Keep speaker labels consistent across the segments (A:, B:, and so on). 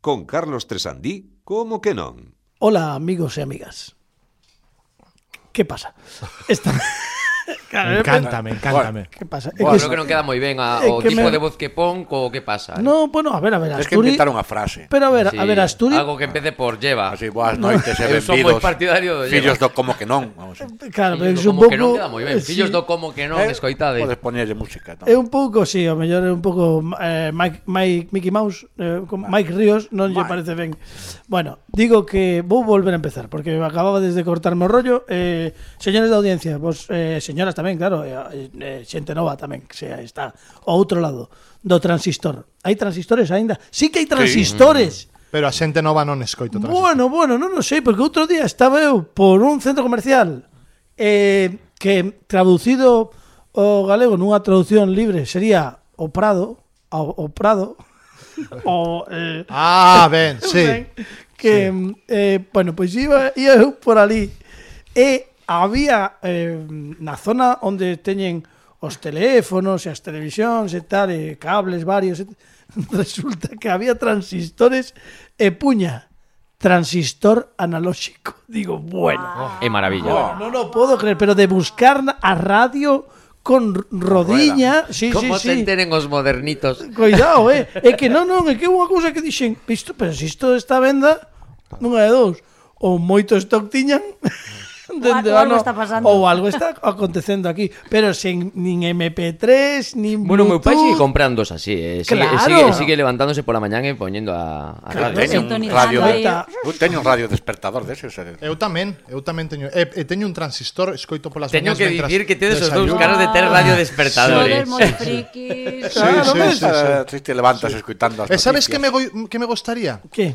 A: con Carlos Tresandí, como que non?
B: Hola, amigos e amigas. Que pasa? Esta... Claro,
C: Me
B: eh,
C: encanta, me encanta. me-
B: Que pasa? É
D: Bueno,
B: que
E: Creo que non queda moi ben a,
B: É
E: o
B: que
E: tipo
B: me-
E: de voz que pon co que pasa. eh.
B: No, bueno, a ver, a ver,
D: Es que
B: Asturi.
D: inventar unha frase.
B: Pero a ver, a
E: Sí,
B: ver, Asturi.
E: Algo que empece por lleva.
D: Así, boas noites e
E: Eu son moi
D: benvidos.
E: partidario de
D: Fillos
E: llevar.
D: do como que non. Vamos.
B: Claro, pero es
E: Fillos do
B: un
E: como
B: pouco
E: que non queda moi ben.
B: eh,
E: Fillos
B: sí.
E: do como que non,
D: Eh,
E: escoitade.
D: Podes poñerlle música. Non?
B: É un pouco, sí, o mellor é un pouco eh, Mike, Mike, Mickey Mouse, eh, con Mike Ríos, non lle
D: Mike.
B: parece ben. Bueno, digo que vou volver a empezar, porque acababa desde cortarme o rollo. Eh, señores da audiencia, vos, eh, señoras tamén, claro, eh, eh, xente nova tamén, que se está ao outro lado do transistor. Hai transistores aínda? Sí que hai transistores.
C: Pero a xente nova non escoito tras
B: Bueno, bueno, non o sei, porque outro día estaba eu por un centro comercial eh, que traducido o galego nunha traducción libre sería o Prado, o, o Prado, o... Eh,
C: Ah, ben, sí.
B: ben, que, eh, bueno, pois iba, iba eu por ali e había eh, na zona onde teñen os teléfonos e as televisións e tal, e cables varios, e t- resulta que había transistores e puña, transistor analóxico. Digo, bueno,
E: É Ah, maravilla.
B: non o podo creer, pero de buscar na- a radio con r- rodiña, sí, sí,
E: Como
B: sí.
E: se enteren os modernitos.
B: Cuidado, eh. É que non, non, é que é unha cousa que dixen, isto, pero se isto está venda, nunha de dous, ou moito stock tiñan, dende
F: ou
B: o
F: algo
B: ano,
F: está pasando.
B: ou algo está acontecendo aquí, pero sen nin MP3, nin
E: Bueno, meu pai sigue
B: Bluetooth,
E: comprándos así, eh. sigue,
B: Claro.
E: sigue, sigue levantándose pola mañán e poñendo a, a
B: Claro.
E: radio.
D: Teño un radio,
F: Sintonizando aí.
D: eu teño un radio despertador deses. eh.
C: Eu tamén, eu tamén teño, e, e teño un transistor, escoito polas
E: Teño
C: mañás
E: que
C: mentras
E: dicir que tedes os dous
C: desayuno.
E: caras de ter radio
F: Ah.
E: despertadores.
F: Sodes moi
C: Sí,
F: frikis.
C: sí,
D: Eh,
C: sí, sí.
D: ti te levantas escuitando as
C: E sabes
D: noticias.
C: que me, goi- que me gustaría?
B: que?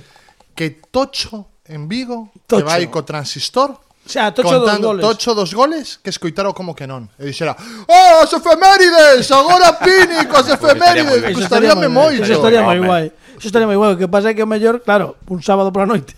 C: Que Tocho en Vigo, que
B: Tocho.
C: vai co transistor,
B: O sea, tocho dos
C: contando
B: goles.
C: Tocho dos goles, que escoitaro como que non. E dixera, oh, as efemérides, agora Pini, coas efemérides,
E: Pois
B: estaría
C: gustaríame
B: moi
C: moito.
B: Eso estaría moi
D: Home.
B: guai. Eso estaría moi guai. O que pasa é que o mellor, claro, un sábado pola noite.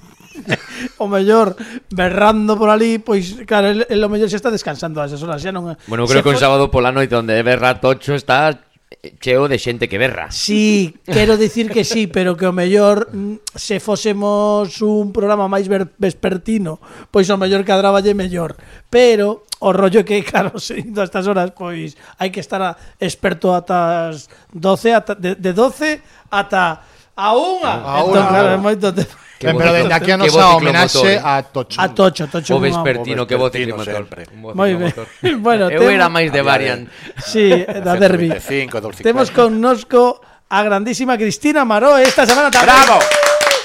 B: o mellor berrando por ali, pois claro, el, el o mellor se está descansando a esas horas, xa non.
E: Bueno,
B: se
E: creo que un
B: fo-
E: sábado pola noite onde berra tocho está eh, cheo de xente que berra.
B: Sí, quero dicir que sí, pero que o mellor mm, se fósemos un programa máis ver- vespertino, pois o mellor cadraballe mellor. Pero o rollo é que, claro, seguindo a estas horas, pois hai que estar a, experto ata as 12, ata, de, de 12 ata a unha.
C: A
B: entón,
C: unha.
B: claro, é moito tempo.
E: Que
C: Eh, pero
E: bo-
C: dende aquí a
E: que bo
C: nosa
E: ciclomotor,
C: homenaxe
E: eh.
C: a Tocho.
B: A tocho, tocho.
E: O
B: unha-
E: vespertino, que voz
D: Vespertino
E: motor.
D: sempre.
B: Moi ben. Bueno,
E: Eu
B: temos-
E: era máis de variant.
B: Sí, da derbi.
D: 125, 250.
B: Temos connosco a grandísima Cristina Maró esta semana tamén.
D: Bravo!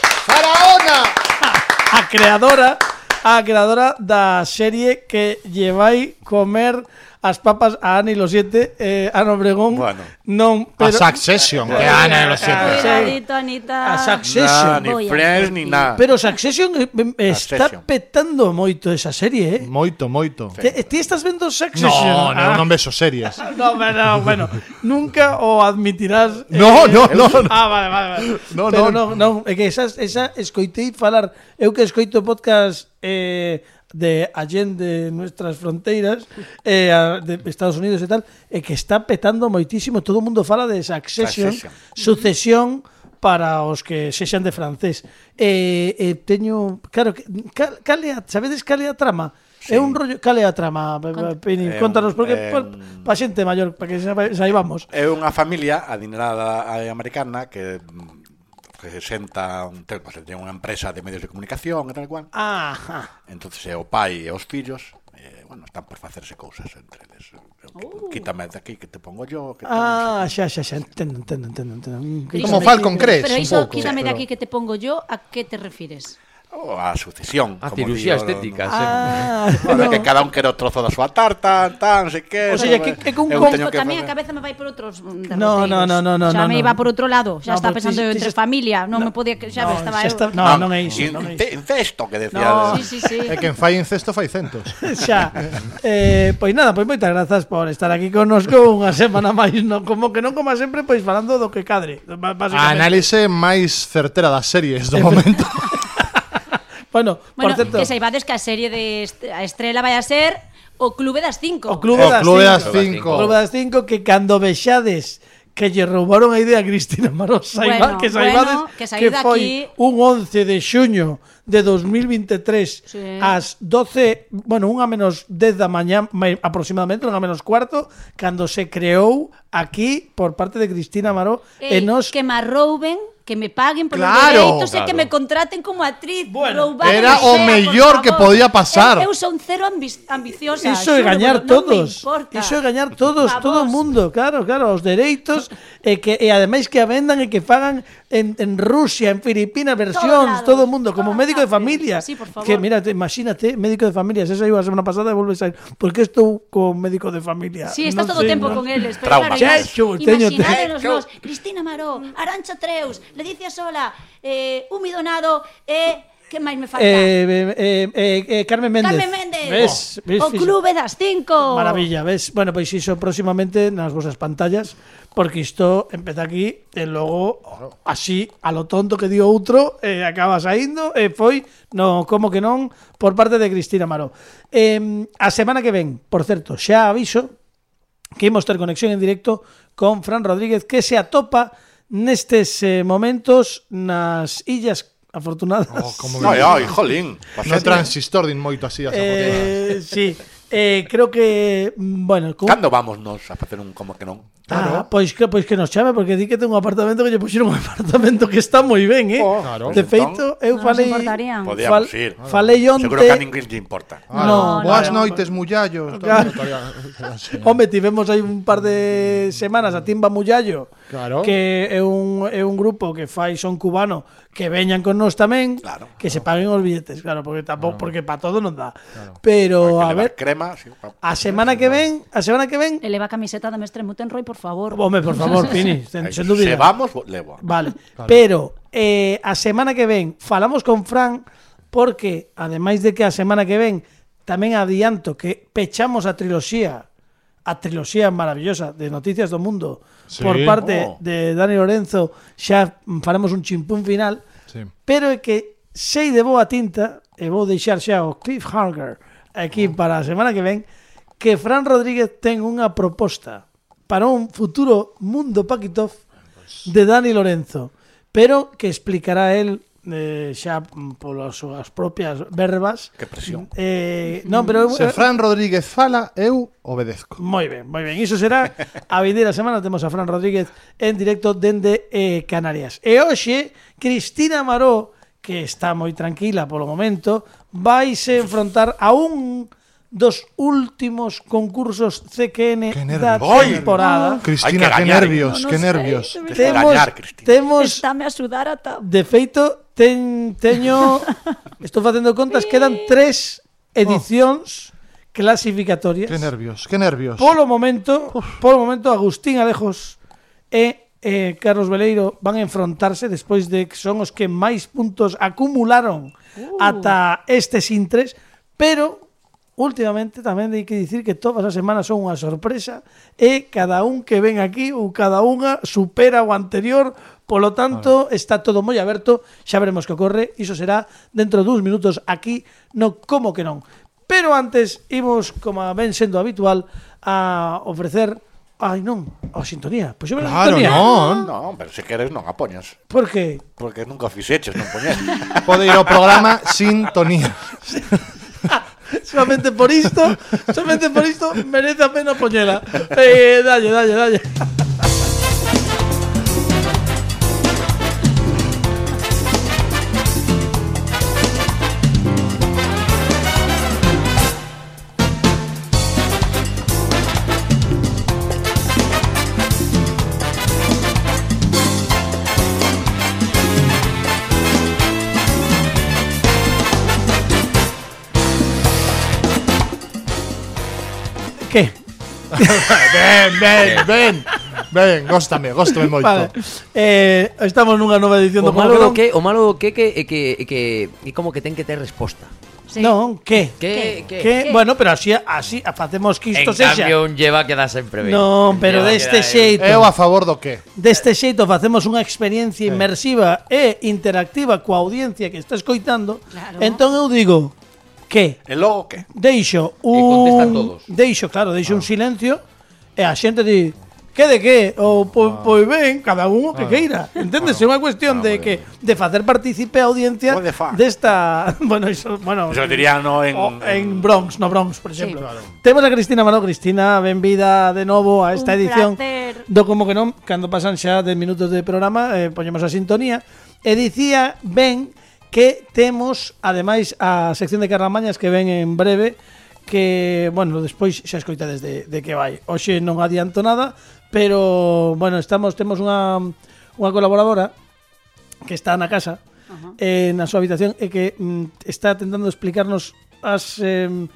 C: ¡Faraona!
B: a creadora a creadora da serie que llevai comer as papas a Ani los siete eh, a Nobregón
D: Bueno.
B: non
C: A
B: pero
C: Succession, que Ana
B: Ah,
C: lo siente.
F: Cuidadito, Anita.
B: a
D: Na,
B: Succession
D: ni
F: Voy a
D: Friends, ni
F: sentir.
D: nada.
B: pero Succession eh, eh, está
D: Succession. Mm.
B: petando moito esa serie eh?
C: Moito, moito.
B: Te, ti estás vendo Succession?
C: No, no,
B: Ah,
C: non beso series.
B: no, pero, bueno, nunca o admitirás eh,
C: No, no, no, no.
B: Ah, vale, vale, vale.
C: No,
B: Pero
C: no.
B: non, non, é que esa, esa escoitei falar, eu que escoito podcast eh, de allende nuestras fronteiras eh, a- de Estados Unidos e tal, é que está petando moitísimo, todo o mundo fala de Succession,
D: Succession.
B: sucesión para os que sexan de francés. Eh, eh, teño, claro, que- cal, cal é a, sabedes cal é a trama? Sí. É un rollo, cal é a trama, Pini,
D: É un-
B: contanos, porque
D: é un-
B: pa xente maior, para que saiba- saibamos.
D: É unha familia adinerada eh, americana que mm, que se senta un te- pues, ten unha empresa de medios de comunicación e tal e cual.
B: Ajá.
D: Entonces é o pai e os fillos eh, bueno, están por facerse cousas entre eles. Uh. Quítame de aquí que te pongo yo, que
B: Oh. Ah, xa, xa, xa, entendo, entendo, entendo, entendo. Mm, que-
C: Como Falcon Crest,
F: Pero
C: un
F: iso,
C: pouco.
F: quítame
C: Pero-
F: de aquí que te pongo yo, ¿a qué te refieres?
D: oh, a sucesión,
E: A
D: como
E: cirurxía
D: di o-
E: Ah, estética, sí.
B: Ah,
D: Bueno,
B: no.
D: que cada un quere o trozo da súa tarta, tan, se
B: O
D: que... eh,
B: sea, que- que un
D: eu
B: con-
D: teño que
F: a mí a
D: facer-
F: cabeza me vai por outros mm,
B: No,
F: derroteiros.
B: no, no, no, no,
F: Xa
B: no,
F: me
B: no.
F: iba por outro lado,
B: No, pues,
F: xa está
B: pero
F: pensando
B: ti- ti
F: entre
B: xa-
F: familia, non me podía, xa
B: No,
F: estaba
B: xa
F: eu.
B: está, no,
D: Ah,
B: non é iso,
D: in-
B: non é
D: te- Incesto, que decía...
B: No.
F: Sí, sí, sí.
C: É que en fai incesto fai centos.
B: Xa. Eh, pois nada, pois moitas grazas por estar aquí connosco unha semana máis, no, como que non como sempre, pois falando do que cadre. ba-
C: A
B: Basicamente.
C: análise máis certera das series do momento.
B: Bueno, por
F: Bueno,
B: certo,
F: que saibades que a serie de est a estrela vai a ser o Clube das Cinco.
B: o Clube
C: O
B: das
C: Clube das
B: Cinco.
E: Cinco.
B: O Clube das Cinco que cando vexades que lle roubaron a idea a Cristina Maros Saibá,
F: Bueno,
B: que Saibades,
F: bueno,
B: que,
F: que saíu de
B: foi
F: aquí.
B: un 11 de xuño de 2023
F: Sí.
B: ás 12, bueno, unha menos 10 da mañá mai- aproximadamente, unha menos cuarto, cando se creou aquí por parte de Cristina Maró e Eh,
F: Ei,
B: nos
F: Que me arrouben, que me paguen por
C: Claro.
F: los dereitos e
E: Claro.
F: que me contraten como actriz.
B: Bueno.
F: Roubado
C: Era
F: que
C: o
F: sea, por
C: mellor
F: favor.
C: que podía pasar.
F: Eu, eu son cero ambi- ambiciosa.
B: Iso é
F: xuro,
B: gañar
F: non me
B: todos.
F: importa.
B: Iso é gañar todos,
F: A
B: todo o
F: vos.
B: mundo, claro, claro, os dereitos e que e ademais que a vendan e que fagan en, en Rusia, en Filipinas, versións,
F: lados,
B: todo o mundo, como
F: todas
B: médico de
F: partes.
B: familia.
F: Sí, por favor.
B: Que mira, te- imagínate, médico de familia, se saiu a semana pasada e volve a sair. Por que estou con médico de familia?
F: Sí, estás
B: Non
F: todo o
B: sei,
F: tempo
B: non-
F: con eles. Pero
D: Trauma.
F: Claro,
B: Che, xo, teño-
F: imaginádenos
E: teño-
F: nós. Cristina Maró, Arancha Treus, Leticia Sola, eh, Umi Donado e... que máis me falta?
B: Eh, eh, eh, eh, eh, Carmen Méndez.
F: Carmen Méndez.
B: Ves, ves,
F: o
B: fixo-
F: Clube das Cinco.
B: Maravilla, ves? Bueno, pois iso próximamente nas vosas pantallas, porque isto empeza aquí e logo así a lo tonto que dio outro eh, acaba saindo e foi no como que non por parte de Cristina Maró. Eh, a semana que ven, por certo, xa aviso que imos ter conexión en directo con Fran Rodríguez que se atopa nestes eh, momentos nas illas afortunadas.
C: Oh, como
D: Ai,
C: que-
D: ai, jolín.
C: No
D: paciente.
C: transistor din moito así as
B: eh,
C: afortunadas.
B: sí, eh, creo que mm, bueno, cun-
D: Cando vamos nos a facer un como que non?
B: Ah, pois que pois que nos chame porque di que ten un apartamento que lle puxeron un apartamento que está moi ben, eh.
D: Oh,
C: claro.
B: De
D: Pues
B: feito,
D: entón,
B: eu
F: Non nos
B: falei
F: importarían.
B: Ah.
D: Podíamos
B: fal-
D: ir.
B: Falei
D: Seguro que a
B: onte
D: ninguén lle importa.
B: No,
C: Claro.
B: no,
C: Boas
B: no.
C: noites, mullallos.
B: Claro.
C: Claro.
B: Home, tivemos aí un par de semanas a Timba Mullallo
C: Claro.
B: Que é un, é un grupo que fai son cubano Que veñan con nós tamén
D: Claro.
B: Que se paguen os billetes, claro Porque tampouco, porque para todo non dá Pero,
D: Hai
B: a
D: que
B: ver,
D: levar crema, sí, pa-
B: a semana que ven A semana que ven
F: Eleva a camiseta de Mestre Mutenroy, por favor.
B: Home, por favor, Pini, sen,
D: Ai,
B: sen dúbida
D: Se vamos, vo- levo.
B: Vale. Pero eh, a semana que ven falamos con Fran porque, ademais de que a semana que ven tamén adianto que pechamos a triloxía a triloxía maravillosa de Noticias do Mundo
C: Sí.
B: por parte
D: Oh.
B: de Dani Lorenzo xa mm, faremos un chimpún final
C: Sí.
B: pero é que sei de boa tinta e vou deixar xa o cliffhanger
D: Oh.
B: aquí para a semana que ven que Fran Rodríguez ten unha proposta para un futuro mundo Pakitov de Dani Lorenzo pero que explicará el eh, xa mm, polas súas propias verbas
D: Que presión.
B: eh, non, pero
C: Se Fran Rodríguez fala, eu obedezco.
B: Moi ben, moi ben. Iso será a vindeira semana temos a Fran Rodríguez en directo dende eh, Canarias. E hoxe Cristina Maró, que está moi tranquila polo momento, vai se enfrontar a un dos últimos concursos CQN
C: Que
B: da
C: nervios.
D: ¡Ay!
B: temporada.
C: Cristina,
D: Hay que
C: qué
D: gañar,
C: nervios,
F: no
C: qué
F: sé.
C: nervios.
D: Tens que
B: Temos
D: gañar, Cristina.
B: temos
F: Estáme a sudar ata...
B: De feito, ten, teño... estou facendo contas, quedan tres edicións clasificatorias.
C: Qué nervios, qué nervios.
B: Polo momento, polo momento Agustín Alejos e eh, Carlos Veleiro van a enfrontarse despois de que son os que máis puntos acumularon ata este sin tres, pero últimamente tamén hai que dicir que todas as semanas son unha sorpresa e cada un que ven aquí ou cada unha supera o anterior Polo tanto, está todo moi aberto, xa veremos que ocorre, iso será dentro duns minutos aquí no Como que non. Pero antes imos, como ben sendo habitual, a ofrecer Ai non, a sintonía Pois eu
C: Claro,
B: sintonía
C: non.
D: Non, pero se queres non a poñas.
B: Porque
D: Porque nunca o fixeches, non poñes.
C: Pode ir ao programa Sintonía.
B: solamente por isto Solamente por isto merece a pena poñela eh, Dalle, dalle, dalle Que?
C: Ben, ben, ben. Ben, góstame, góstame moito.
B: Vale. Eh, estamos nunha nova edición do
E: O malo
B: Como
E: do que, o malo do que que é que é que é como que ten que ter resposta.
F: Sí.
B: Non, que?
E: Que que
B: Que? Bueno, pero así, así facemos que
E: En
B: isto sexa
E: cambio un lleva que dá sempre ben.
B: Non, pero
E: Un lleva
B: deste
E: que dá-
B: xeito
C: Eu a favor do que?
B: Deste este xeito facemos unha experiencia inmersiva e interactiva coa audiencia que está escoitando.
F: Claro.
B: Entón eu digo que
D: E logo que?
B: deixo un
E: contestan todos.
B: deixo, claro, deixo un silencio e a xente di que de que ou pois, pois ben, cada un o que queira. Entendes? É unha cuestión de que de facer partícipe a audiencia
D: O de fa.
B: desta, bueno, iso, bueno,
D: Eso diría no en,
B: o en Bronx, no Bronx, por exemplo.
F: Claro.
B: Temos a Cristina Mano, Cristina, benvida de novo a esta
F: Un
B: edición
F: placer.
B: do como que non, cando pasan xa 10 minutos de programa, eh, poñemos a sintonía e dicía ben que temos ademais a sección de Carramañas que ven en breve que, bueno, despois xa escoitades de, de que vai. Hoxe non adianto nada, pero bueno, estamos temos unha unha colaboradora que está na casa, eh, na súa habitación e que mm, está tentando explicarnos as em,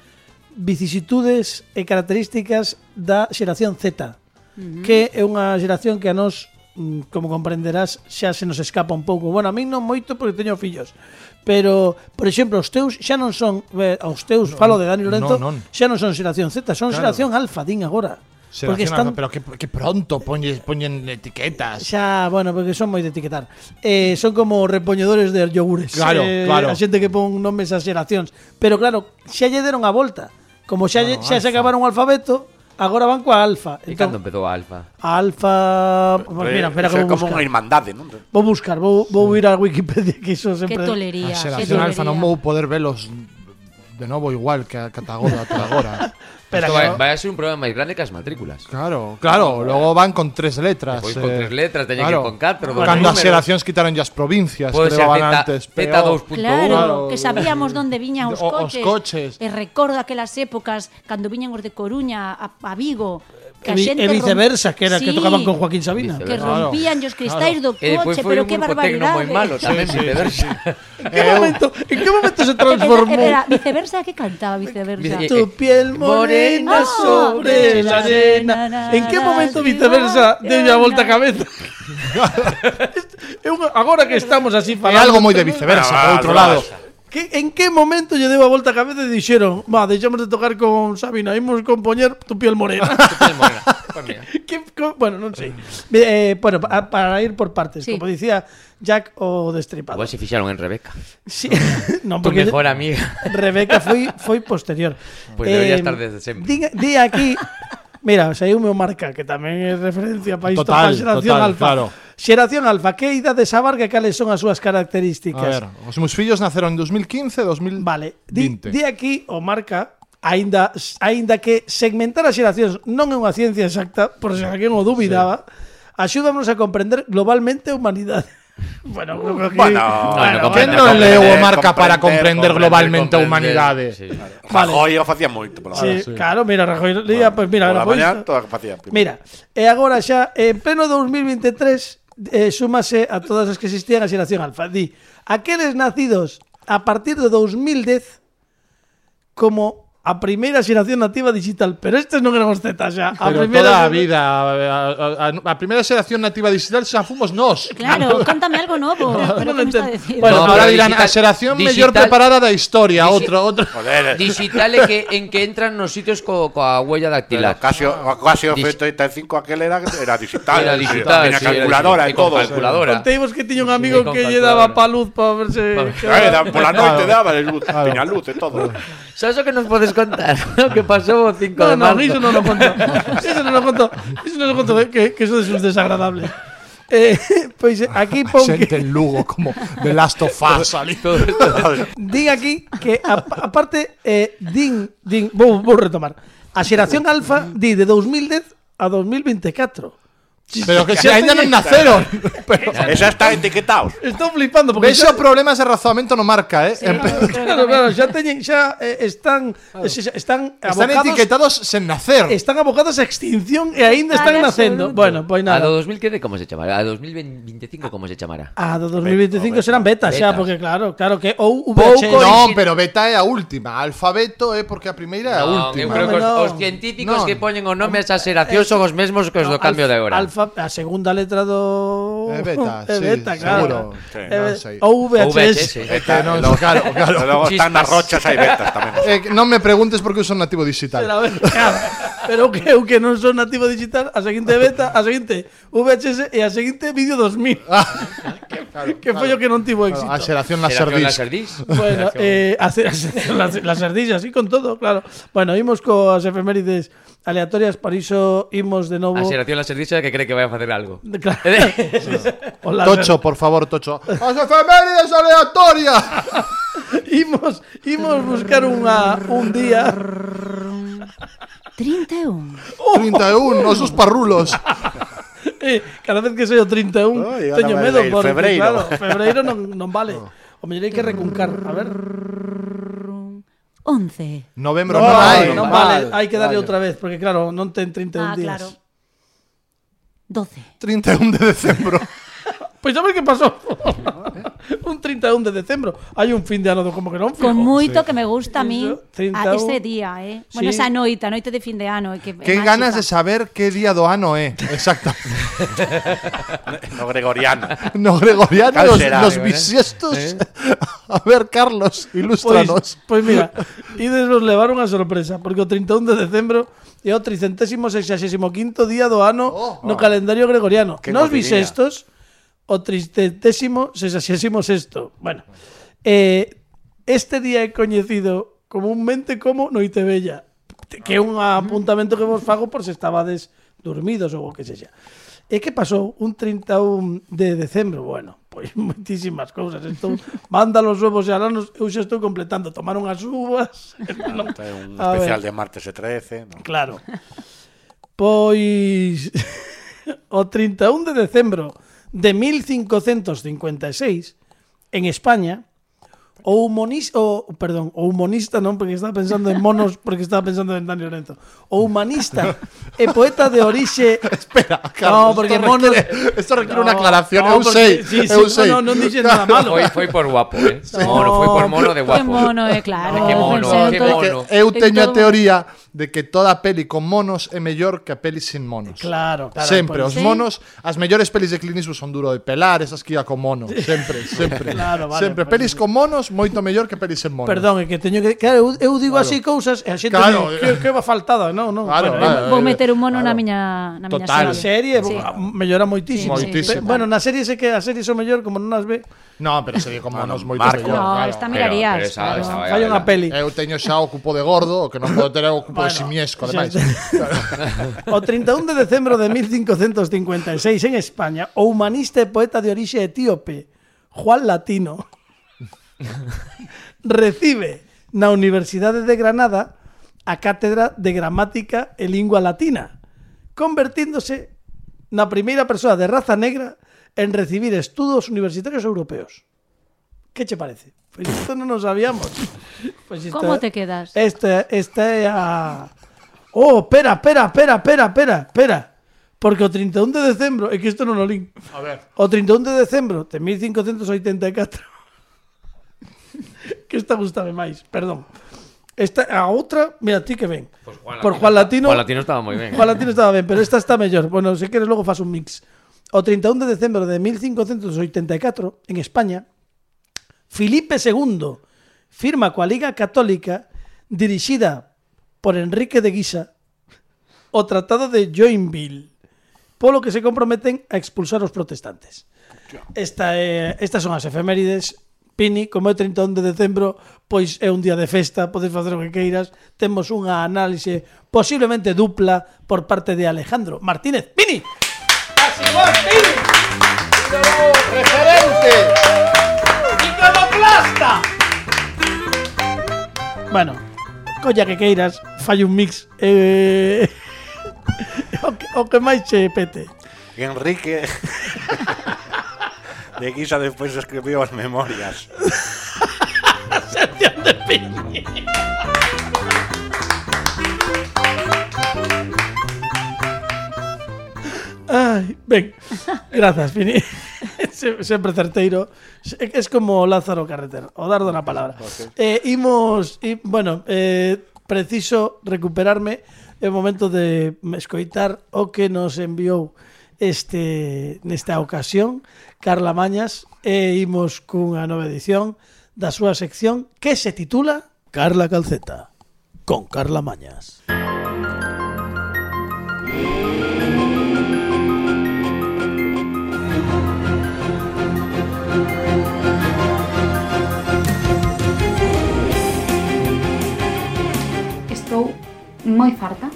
B: vicisitudes e características da xeración Z, que é unha xeración que a nós mm, como comprenderás, xa se nos escapa un pouco. Bueno, a min non moito porque teño fillos. Pero, por exemplo, os teus xa non son, eh, aos teus, falo de Dani Lorenzo,
C: non, non.
B: xa non son xeración Z, son
C: Claro.
B: xeración alfa, din agora.
C: Se
B: porque
C: relaciona-
B: están
C: Pero que, que pronto poñen, poñen etiquetas.
B: Xa, bueno, porque son moi de etiquetar eh, Son como repoñedores de yogures
C: Claro,
B: eh,
C: claro.
B: A xente que pon nomes ás xeracións Pero claro, xa lle deron a volta Como xa, lle-
C: Claro,
B: xa se
C: alfa.
B: acabaron o alfabeto Agora van coa alfa
E: E
B: entón,
E: cando empezou a Alfa?
B: A alfa... Pues mira, espera que vou
D: como, como
B: buscar
D: unha irmandade, non?
B: Vou buscar, vou, vou ir a Wikipedia Que iso
F: Que
B: sempre...
E: Ah,
C: A
F: tolería. que
C: xeración Ah,
F: tolería.
C: alfa non vou poder velos de novo igual que a Catagora ata agora.
B: Espera,
E: Isto
B: que
E: vai,
B: no-
E: vai a ser un problema máis grande que as matrículas.
C: Claro, claro, logo van con tres letras. eh,
E: Pois Pues con tres letras, teñen que ir con catro, con
C: Cando as
E: números.
C: xeracións quitaron as provincias
E: Pode
C: que
E: ser
C: levaban
E: Z-
C: antes.
E: Z2.1.
C: peor.
F: Claro,
C: Claro.
F: que sabíamos onde viñan os
C: O- os
F: coches.
C: coches.
F: E recordo aquelas épocas cando viñan os de Coruña a, a Vigo. Que
B: E
F: a
B: vi-
F: xente
B: e viceversa, que era que
F: Sí,
B: tocaban con Joaquín Sabina.
F: Que
E: Claro.
F: rompían os cristais do
E: E despois
F: coche,
E: foi
F: pero
E: un
F: que
E: grupo tecno
F: barbaridade.
E: moi malo tamén, sí, viceversa.
B: En que momento, en que momento se transformou?
F: Era, viceversa, que cantaba viceversa?
E: Vice-
B: Tu piel Eh, morena
F: Ah,
B: sobre la arena. ¿En qué momento viceversa
F: Sí,
B: deu a volta a
F: na-
B: cabeza? É unha- Agora que estamos así
C: É
B: falando
C: algo moi de viceversa, por outro lado.
B: Que, en que momento lle deu a volta a cabeza e dixeron Va, deixamos de tocar con Sabina Imos compoñer tu piel morena
E: Pues
B: que, co- Bueno, non sei eh, Bueno, pa- para ir por partes
F: Sí.
B: Como dicía Jack o Destripado
E: Igual se fixaron en Rebeca.
B: sí. non,
E: Tu
B: porque
E: mejor amiga.
B: Rebeca foi foi posterior. Eh,
E: Pois Pues debería estar desde sempre.
B: Di, di aquí, mira, o sea, hai un meu marca que tamén é referencia para isto, para
C: Total,
B: a xeración
C: total,
B: alfa.
C: claro.
B: Xeración alfa, que idade sabarga cales son as súas
C: A ver,
B: características?
C: os meus fillos naceron en 2015, 2020.
B: Vale, di, di aquí o marca Ainda, ainda que segmentar as xeracións non é unha ciencia exacta, por se alguén o dubidaba, axúdanos a comprender globalmente a humanidade. Bueno, creo que aquí-
D: Bueno,
E: bueno,
C: Que
E: comprende,
C: non leo o
D: comprender,
C: marca para comprender
D: comprender,
C: globalmente a
E: comprender,
C: humanidade.
E: Sí.
B: Vale.
D: Rajoy o facía moito, pola
B: Sí,
D: mañá.
C: sí.
B: claro, mira, Rajoy leía, pues mira,
D: pola
B: era pois-
D: mañá toda facía. primero.
B: Mira, e agora xa, en pleno 2023, eh, súmase a todas as que existían a xeración alfa. Di, aqueles nacidos a partir de 2010 como a primeira xeración nativa digital, pero estes non eran os Z xa. A
C: Pero
B: primeira
C: toda a vida, a, a- a- a primeira xeración nativa digital xa fomos nós.
E: "Eh,
F: Claro, cántame algo novo. pero
B: non
F: que me está
B: entendo.
F: dicindo?
C: Bueno,
E: No,
C: ahora
E: pero
C: dirán a
E: digital-
C: xeración
E: digital-
C: mellor preparada da historia, outra, outra.
D: Joder, eh,
E: Digital é que, en que entran nos sitios co, coa huella
D: Pero
E: dactilar.
D: Casio, Casio
E: Dis-
D: F35 aquel era, era digital.
E: Era
D: sí,
E: digital,
D: tenía
E: sí, era
D: calculadora
E: digital.
D: y todo.
E: Con calculadora.
B: Conteimos que tiña un amigo
E: Sí, con
B: que lle daba
E: calculadora.
B: pa luz para verse...
D: Eh, da- por la noche daba luz,
C: Claro.
D: tenía luz y todo.
E: Sabes o que nos podes contar? O que pasou o 5 de
B: No,
E: marzo.
B: no, eso no lo conto. Eso no lo conto. Eso no lo conto, eh, que, que eso es un desagradable. Eh, pois eh, aquí pon que...
C: Xente en Lugo como The Last of Us ali.
E: Todo esto.
B: Din aquí que a- aparte eh, din, din vou, vou retomar. A xeración alfa di de 2010 a 2024.
C: Pero que se ainda non naceron. Pero
D: Esa está etiquetado.
B: Estou flipando porque
C: vexo problemas de razonamento no marca, eh? En-
B: claro, claro, xa teñen xa eh, están xa- xa- están
C: Están
B: abocados
C: etiquetados sen nacer.
B: están abocados a extinción e aínda
F: Al
B: están nacendo.
F: absoluto.
B: Bueno, pois
E: A
B: nada.
E: do 2015 como se chamará? A 2025 como se chamará?
B: A do 2025 serán beta xa,
E: Betas.
B: porque claro, claro que ou
E: Pouco
B: VHS.
C: Non, pero beta é a última. Alfabeto é porque a primeira é a
E: Non, eu
C: última.
E: creo que os,
B: Home, non.
E: os científicos
C: Non.
E: que poñen o nome a esas xeracións son os mesmos que os do
B: Eh, No,
E: cambio de
B: alf-
E: agora.
B: Alfa, a segunda letra do
C: É beta,
B: é
C: sí,
B: beta, claro. Eh,
C: seguro. Sí,
B: É
C: non
B: be-
C: sei.
B: Ou
E: O
B: VHS.
E: VHS.
C: Que non, claro, claro.
D: Luego están
E: Chispas.
D: las rochas, hay ventas también.
C: Eh, non me preguntes porque eu son nativo digital.
B: Pero a ver, claro. Pero que eu que non son nativo digital, a seguinte beta, a seguinte VHS e a seguinte vídeo 2000. que foi o que non tivo éxito.
C: A xeración
E: Será
C: las
E: que
C: sardis.
E: Laserdisc?
B: Bueno, eh, hacer las, las ardillas, así con todo, claro. Bueno, imos coas efemérides aleatorias, para iso imos de novo...
E: A xeración Laserdisc é que cree que vai a facer algo.
B: Claro. O láser.
C: Tocho, por favor, Tocho. ¡As efemérides aleatorias!
B: Imos, imos buscar unha, un día
F: 31.
C: 31, osos parrulos.
B: Eh, Cada vez que soy o 31
D: Ai, ahora
B: teño
D: vai
B: medo
D: leer
B: porque
D: febreiro.
B: claro, febreiro non, non vale. O mellor hai que recuncar, a ver.
F: 11.
C: Novembro
B: non
C: non hai.
B: non vale, hai que darlle outra vez porque claro, non ten 31
F: Ah,
B: días.
F: claro. 12.
C: 31 de decembro.
B: Pois Pues a ver que pasou. un 31 de decembro. Hai un fin de ano do como que non fijo. Pues,
F: Con moito que me gusta a mí
B: Trinta
F: a
B: un.
F: ese día, eh. Bueno,
B: Sí.
F: esa noite, a noite de fin de ano, eh, que é
C: Qué
F: máxica.
C: ganas de saber qué día do ano é. Exacto.
D: No gregoriano.
C: No gregoriano,
D: Cal
C: los,
D: será,
C: los
D: eh? Pues,
C: bisiestos. A ver, Carlos,
B: Pois, pois
C: ilústranos.
B: pues mira, ides vos levar unha sorpresa, porque o 31 de decembro é o 365 día do ano no calendario gregoriano.
D: Que
B: Nos
D: coincidencia.
B: bisestos, o 366. Bueno, eh, este día é coñecido comúnmente como Noite Bella, que é un apuntamento que vos fago por se estabades dormidos ou o que sexa. E que pasou un 31 de decembro? Bueno, pois moitísimas cousas. Estou, manda os ovos e alanos, eu xa estou completando. Tomaron as uvas. non,
D: Trae un
B: A
D: especial
B: ver.
D: de martes de 13. ¿no?
B: Claro. Pois o 31 de decembro de 1556 en España o humanista, o, perdón, o humanista, non, porque estaba pensando en monos, porque estaba pensando en Dani Lorenzo. O humanista e poeta de orixe
C: Espera, Carlos.
B: No, porque
C: esto
B: monos-
C: requiere, esto requiere una
B: No,
C: aclaración.
B: no,
C: eu
B: porque- Sí,
C: sei,
B: sí,
C: eu sei.
B: no, no, non dixen nada malo.
E: Foi, foi por guapo, eh? Mono, foi por mono de
F: Qué
E: guapo.
F: mono, eh,
E: Ai,
F: claro.
E: que mono,
F: Pensé en
E: que
F: todo-
E: mono.
C: Que
E: Bueno.
C: eu
F: En
C: teño a
F: todo-
C: teoría de que toda peli con monos é mellor que a peli sin monos.
B: Claro, claro.
C: sempre,
B: pois-
C: os monos, as mellores pelis de Clint Eastwood son duro de pelar, esas que iba con mono, sempre, sempre.
B: Claro, vale,
C: sempre
B: pues
C: pelis con monos moito mellor que pelis sen monos.
B: Perdón, é que teño que claro, eu, eu digo así cousas e a xente
C: Claro.
B: me- que, que va faltada, non, non.
C: Claro,
B: bueno,
C: claro.
F: Vou meter un mono
C: Claro.
F: na miña na miña
C: Total.
B: Na serie
F: Sí.
B: bo- mellora moitísimo.
F: Sí,
C: Moitísimo.
B: Pe- Bueno, na serie sé que a serie son mellor como non as ve.
C: No, pero sería con monos moito
D: Marco.
C: mellor.
F: No,
C: claro. Eh,
F: esta
E: Pero-
F: mirarías.
E: pero esa-
F: claro.
E: esa vai a
B: Falla unha
E: verla.
B: peli.
C: Eu teño xa o cupo de gordo, o que non podo ter é o cupo
B: Bueno,
C: de simiesco,
B: xa
C: ademais.
B: está. o 31 de decembro de 1556 en España, o humanista e poeta de orixe etíope, Juan Latino, recibe na Universidade de Granada a cátedra de gramática e lingua latina, convertíndose na primeira persoa de raza negra en recibir estudos universitarios europeos. Que che parece? Pois isto non nos sabíamos. Pois isto-
F: Como te quedas?
B: Esta, esta é a... Oh, espera, espera, espera, espera, espera, espera. Porque o 31 de decembro, é que isto non o lin.
C: A ver.
B: O 31 de decembro de 1584. que esta gustame máis, perdón. Esta a outra, mira ti que ven. Por Juan Latino.
E: Juan Latino estaba ¿eh? moi ben.
B: Juan Latino estaba ben, pero esta está mellor. Bueno, se queres logo fas un mix. O 31 de decembro de 1584, en España, Felipe II firma coa Liga Católica dirixida por Enrique de Guisa o Tratado de Joinville, polo que se comprometen a expulsar os protestantes. Esta é, estas son as efemérides. Pini, como é 31 de decembro, pois é un día de festa, podes facer o que queiras. Temos unha análise posiblemente dupla por parte de Alejandro Martínez. Pini! Así va, Pini!
C: Referente.
B: ¡Iconoplasta! Bueno, colla que queiras, fai un mix. Eh... o, que, o que máis che pete.
D: Y Enrique. De Guisa después escribió las memorias.
B: Ai, ben. Grazas, Pini. Se- Sempre certeiro. Se- Es como Lázaro Carretero, o dardo na palabra. Eh, imos, i, bueno, eh, preciso recuperarme é momento de escoitar o que nos enviou este nesta ocasión Carla Mañas e imos cunha nova edición da súa sección que se titula Carla Calceta con Carla Mañas.
G: moi farta,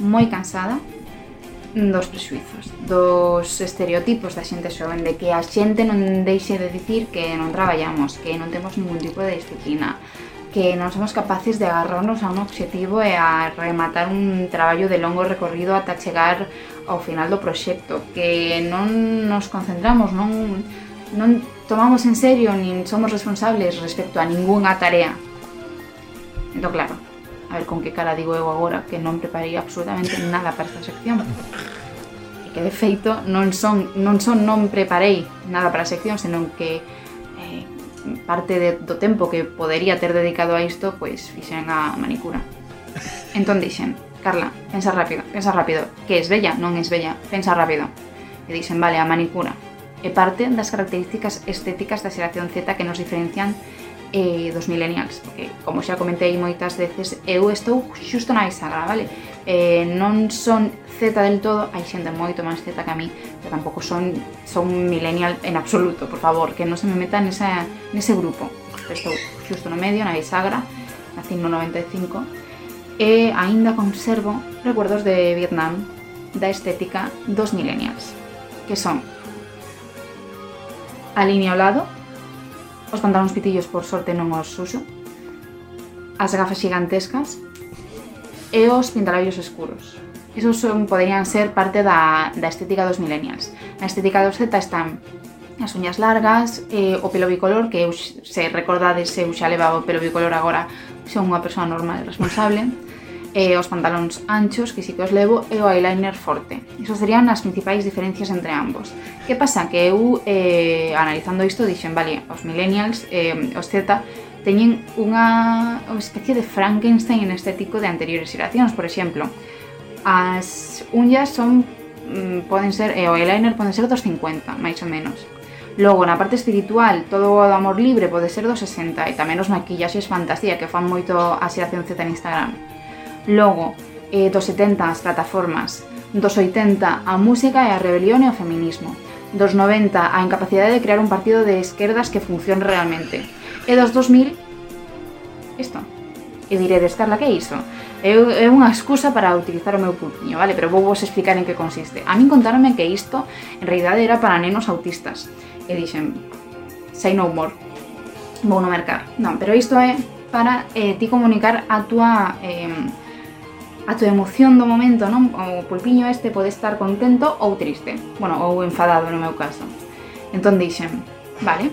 G: moi cansada dos prexuizos, dos estereotipos da xente xoven de que a xente non deixe de dicir que non traballamos, que non temos ningún tipo de disciplina, que non somos capaces de agarrarnos a un obxectivo e a rematar un traballo de longo recorrido ata chegar ao final do proxecto, que non nos concentramos, non, non tomamos en serio nin somos responsables respecto a ningunha tarea. Entón, claro, a ver con que cara digo eu agora que non preparei absolutamente nada para esta sección. E que de feito non son non son non preparei nada para a sección, senón que eh, parte de, do tempo que podería ter dedicado a isto, pois fixen a manicura. Entón dixen, Carla, pensa rápido, pensa rápido, que es bella, non es bella, pensa rápido. E dixen, vale, a manicura. É parte das características estéticas da xeración Z que nos diferencian eh, dos millennials, porque como xa comentei moitas veces, eu estou xusto na bisagra, vale? Eh, non son Z del todo, hai xente moito máis Z que a mí, pero tampouco son son millennial en absoluto, por favor, que non se me meta nesa, nese grupo. Estou xusto no medio, na bisagra, nací no 95, e aínda conservo recuerdos de Vietnam da estética dos millennials, que son a línea ao lado, os pantalóns pitillos por sorte non os uso, as gafas gigantescas e os pintalabios escuros. Esos son, poderían ser parte da, da estética dos millennials. Na estética dos Z están as uñas largas, eh, o pelo bicolor, que eu, x- se recordades eu xa levaba o pelo bicolor agora, son unha persoa normal e responsable, e os pantalóns anchos, que sí que os levo, e o eyeliner forte. Esas serían as principais diferencias entre ambos. Que pasa? Que eu, eh, analizando isto, dixen, vale, os millennials, eh, os Z, teñen unha especie de Frankenstein estético de anteriores xeracións, por exemplo. As unhas son mm, poden ser, e o eyeliner poden ser dos 50, máis ou menos. Logo, na parte espiritual, todo o amor libre pode ser dos 60 e tamén os maquillaxes fantasía que fan moito a xeración Z en Instagram. Logo, eh, dos 70 as plataformas, dos 80 a música e a rebelión e o feminismo, dos 90 a incapacidade de crear un partido de esquerdas que funcione realmente, e dos 2000 isto. E diredes, Carla, que é iso? É, u- é unha excusa para utilizar o meu pulpiño, vale? Pero vou vos explicar en que consiste. A min contaronme que isto, en realidade, era para nenos autistas. E dixen, say no more. Vou no mercar. Non, pero isto é para eh, ti comunicar a túa... Eh, a túa emoción do momento, non? O pulpiño este pode estar contento ou triste, bueno, ou enfadado no meu caso. Entón dixen, vale,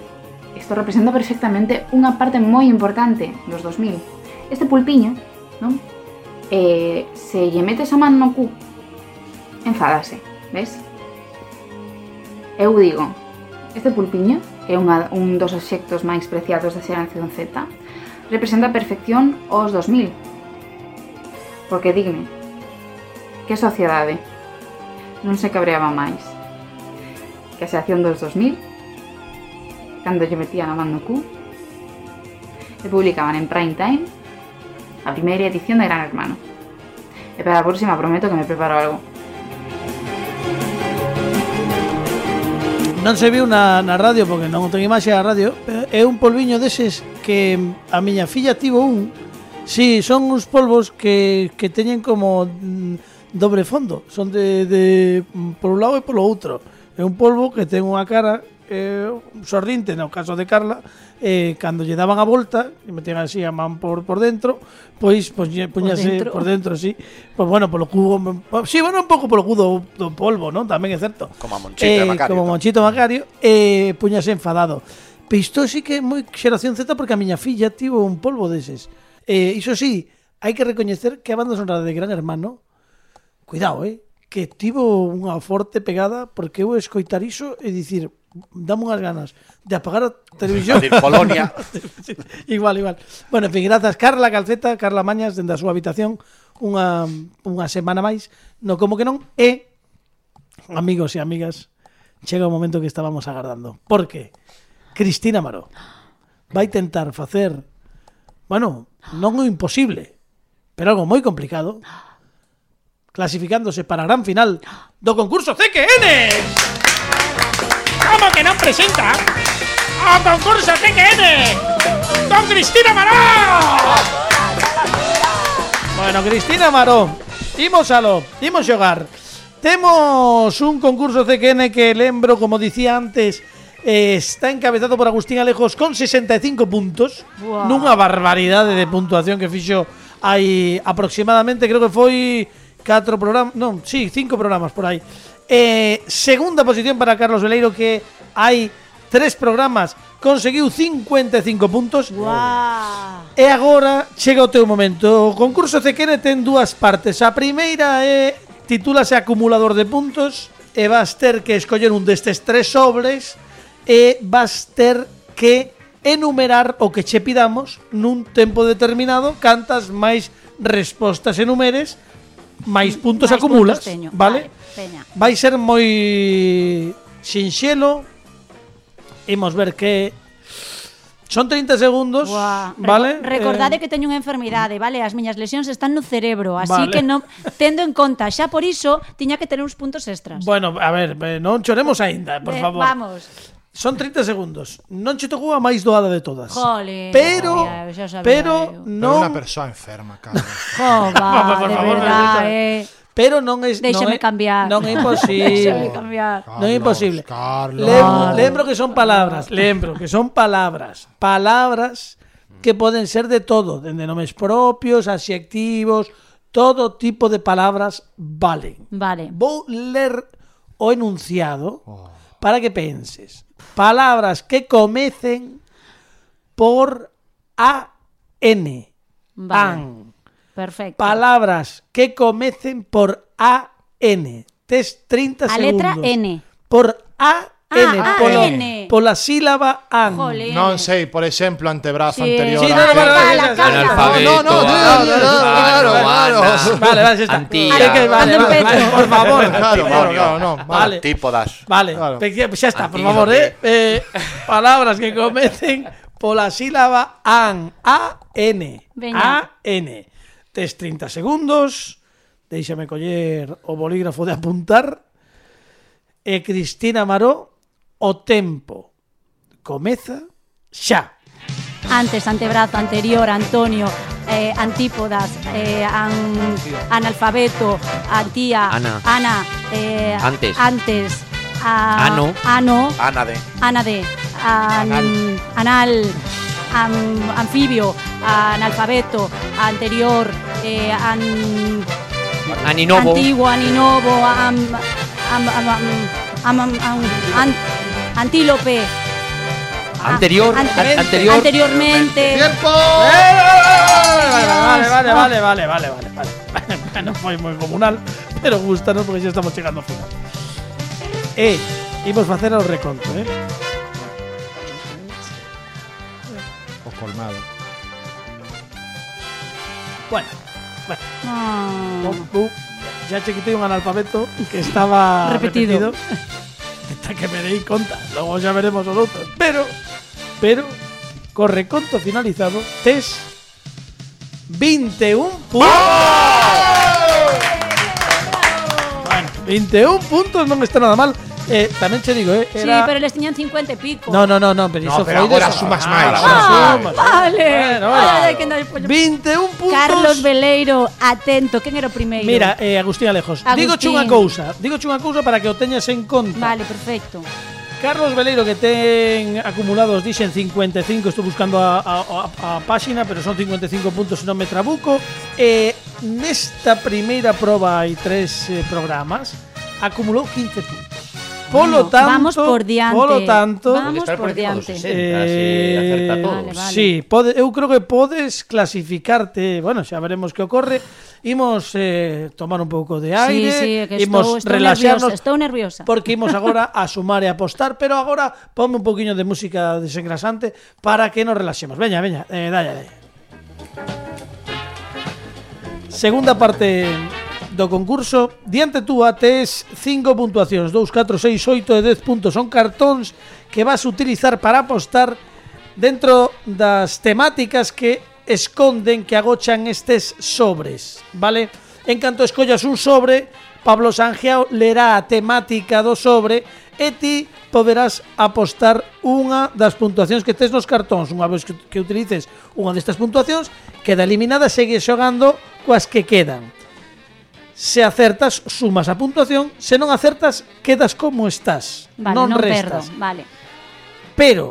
G: isto representa perfectamente unha parte moi importante dos 2000. Este pulpiño, non? Eh, se lle metes a man no cu, enfadase, ves? Eu digo, este pulpiño, que é unha, un dos obxectos máis preciados da xeración Z, representa a perfección os 2000, porque dime, que sociedade non se cabreaba máis que a xeración dos 2000 cando lle metían a man no cu e publicaban en prime time a primeira edición de Gran Hermano e para a próxima prometo que me preparo algo
B: Non se viu na, na radio porque non ten imaxe a radio pero É un polviño deses que a miña filla tivo un Si, sí, son uns polvos que, que teñen como mm, dobre fondo Son de, de mm, por un lado e polo outro É un polvo que ten unha cara eh, sorrinte no caso de Carla eh, cando lle daban a volta e metían así a man por, por dentro pois pois lle puñase
H: dentro.
B: por dentro, sí pois bueno, polo cubo si, sí, bueno, un pouco polo cubo do polvo, non? tamén é certo
D: Como a Monchita
B: Eh,
D: Macario,
B: Como
D: ¿no?
B: Monchito Macario, eh, puñase enfadado. Pero isto sí que é moi xeración Z porque a miña filla tivo un polvo deses. Eh, iso sí, hai que recoñecer que a banda sonora de Gran Hermano, cuidado, eh, que tivo unha forte pegada porque eu escoitar iso e dicir, dame unhas ganas de apagar a televisión.
D: decir, Polonia.
B: igual, igual. Bueno, en fin, grazas Carla Calceta, Carla Mañas dende a súa habitación unha unha semana máis, no como que non e amigos e amigas, chega o momento que estábamos agardando. Porque Cristina Maró vai tentar facer, bueno, non o imposible, pero algo moi complicado, clasificándose para a gran final do concurso CQN. Como que non presenta o concurso CQN con Cristina Maró. Bueno, Cristina Marón, imos aló, imos xogar. Temos un concurso CQN que lembro, como dicía antes, eh, está encabezado por Agustín Alejos con 65 puntos,
F: Buah.
B: nunha barbaridade de puntuación que fixo hai aproximadamente, creo que foi 4 programas, non, sí, 5 programas por aí. Eh, segunda posición para Carlos Veleiro que hai 3 programas, conseguiu 55 puntos.
C: Ah.
F: Guau.
B: E agora chega o teu momento. O concurso Cequene ten dúas partes. A primeira é titúlase acumulador de puntos e vas ter que escoller un destes tres sobres e vas ter que enumerar o que che pidamos nun tempo determinado cantas máis respostas enumeres máis puntos
F: Máis
B: acumulas,
F: puntos teño.
B: vale?
F: Vale, veña.
B: Vai ser moi sinxelo. Imos ver que Son 30 segundos,
F: Guau.
B: vale?
F: Reco- Recordade
B: Eh,
F: que teño unha enfermidade, vale? As miñas lesións están no cerebro, así
B: Vale.
F: que non tendo en conta, xa por iso tiña que ter uns puntos extras.
B: Bueno, a ver, eh, non choremos aínda, por
F: Eh,
B: favor.
F: Vamos.
B: Son 30 segundos. Non che tocou a máis doada de todas.
F: Jolín,
B: pero
F: sabía, eu xa sabía
B: pero
F: eu.
C: No.
B: non
C: una persona enferma, cabrón.
F: Jova,
B: por
F: de
B: favor, Benedita.
F: verdad, eh.
B: pero non é non
F: Déixame
B: é-
F: cambiar.
B: Non é
F: Déixame
B: imposible.
F: cambiar.
B: non é imposible.
C: Carlos.
B: Lem- lembro que son palabras, lembro que son palabras, palabras que poden ser de todo, dende nomes propios, adxectivos, todo tipo de palabras valen.
F: Vale.
B: Vou ler o enunciado para que penses. Palabras que comecen por A N.
F: Vale.
B: An.
F: Perfecto.
B: Palabras que comecen por A N. Tes 30
F: A
B: segundos.
F: letra N.
B: Por A N,
F: Ah,
B: por,
F: AN.
B: por la sílaba an.
F: Jolín.
C: No sé, por ejemplo, antebrazo
F: Sí.
C: anterior.
B: Sí, no,
C: a-
B: no, no, no,
F: Cala,
B: no,
F: cala.
E: Analfabeto,
C: No, no, no,
E: ah,
C: no, no, no,
E: ah,
C: claro,
E: ah,
C: claro.
E: ah,
B: Vale, vale, ya está.
E: Antía.
B: Creo que- vale,
F: Ando en
B: vale,
F: pecho.
B: por favor.
C: Ah, Claro, claro, claro, no, vale.
B: Vale.
D: Tipo das.
B: Vale,
C: Claro.
B: pe- ya está, por
E: Antiguo,
B: favor,
E: tío.
B: ¿eh? Eh, Palabras que comecen por la sílaba AN. A-N.
F: Veña.
B: A-N. Tes 30 segundos. Déixame coller o bolígrafo de apuntar. E Cristina Maró, o tempo. Comeza xa.
F: Antes, antebrazo, anterior, Antonio, eh, antípodas, eh, an- analfabeto, antía,
E: Ana.
F: Ana, eh,
E: Antes.
F: antes, a-
E: Ano.
F: ano,
D: Ana de.
F: Ana de, an-
E: Anal.
F: anal, am- anfibio, analfabeto, anterior, eh, an-
E: Aninovo.
F: antiguo, aninovo, am- am- am- am- am- am- am- an- antílope, a-
E: Anterior.
F: ante-
E: an- anterior.
F: anteriormente.
B: Vale, vale, vale, vale, vale, vale, vale. Bueno, foi moi comunal, pero gustanos porque xa estamos chegando ao final. E imos facer o reconto, eh?
C: O colmado.
B: Bueno, bueno,
F: Ah.
B: Bom, bum. Ya chiquitei un analfabeto que estaba repetido.
F: Repetido.
B: Hasta que me dei conta. Luego ya veremos los otros. Pero, pero, con reconto finalizado, test 21 puntos. Bueno, 21 puntos no me está nada mal. Eh, también te digo, eh,
F: Sí,
B: era...
F: pero les tenían 50 y pico.
B: No, no, no, no, pero
C: No,
B: eso
C: pero
B: foi de
C: agora
B: esa-
C: sumas
B: Ah,
C: máis.
B: agora
C: Ah,
B: sumas.
F: Vale.
B: Bueno,
F: Ay,
B: bueno.
F: ay, que no hay pollo.
B: 21 puntos.
F: Carlos Veleiro, atento, ¿quién era primero?
B: Mira, eh, Agustín Alejos,
F: Agustín.
B: digo chunha cousa, digo chunha cousa para que o teñas en conta.
F: Vale, perfecto.
B: Carlos Veleiro que ten acumulados, dixen 55, estou buscando a, a, a, a páxina, pero son 55 puntos se non me trabuco. E nesta primeira proba hai tres eh, programas, acumulou 15 puntos. Polo
F: Bueno,
B: tanto,
F: vamos por diante.
B: Polo tanto,
F: Vamos
E: Estar por
F: por
E: encima dos
F: diante.
E: 60, si acerta todo.
F: Eh, Vale, vale.
B: Sí, pode, eu creo que podes clasificarte, bueno, xa veremos que ocorre. Imos eh, tomar un pouco de aire,
F: sí, sí, que
B: imos
F: estou, estou
B: relaxarnos
F: nerviosa, estou nerviosa.
B: porque imos agora a sumar e apostar, pero agora ponme un poquinho de música desengrasante para que nos relaxemos. Veña, veña, eh, dalla, dalla. Segunda parte do concurso Diante túa tes 5 puntuacións 2, 4, 6, 8 e 10 puntos Son cartóns que vas utilizar para apostar Dentro das temáticas que esconden Que agochan estes sobres Vale? En canto escollas un sobre Pablo Sangiao lerá a temática do sobre E ti poderás apostar unha das puntuacións que tes nos cartóns Unha vez que, que utilices unha destas puntuacións Queda eliminada e segue xogando coas que quedan. Se acertas, sumas a puntuación, se non acertas, quedas como estás.
F: Vale,
B: non
F: non,
B: restas.
F: perdo. Vale.
B: Pero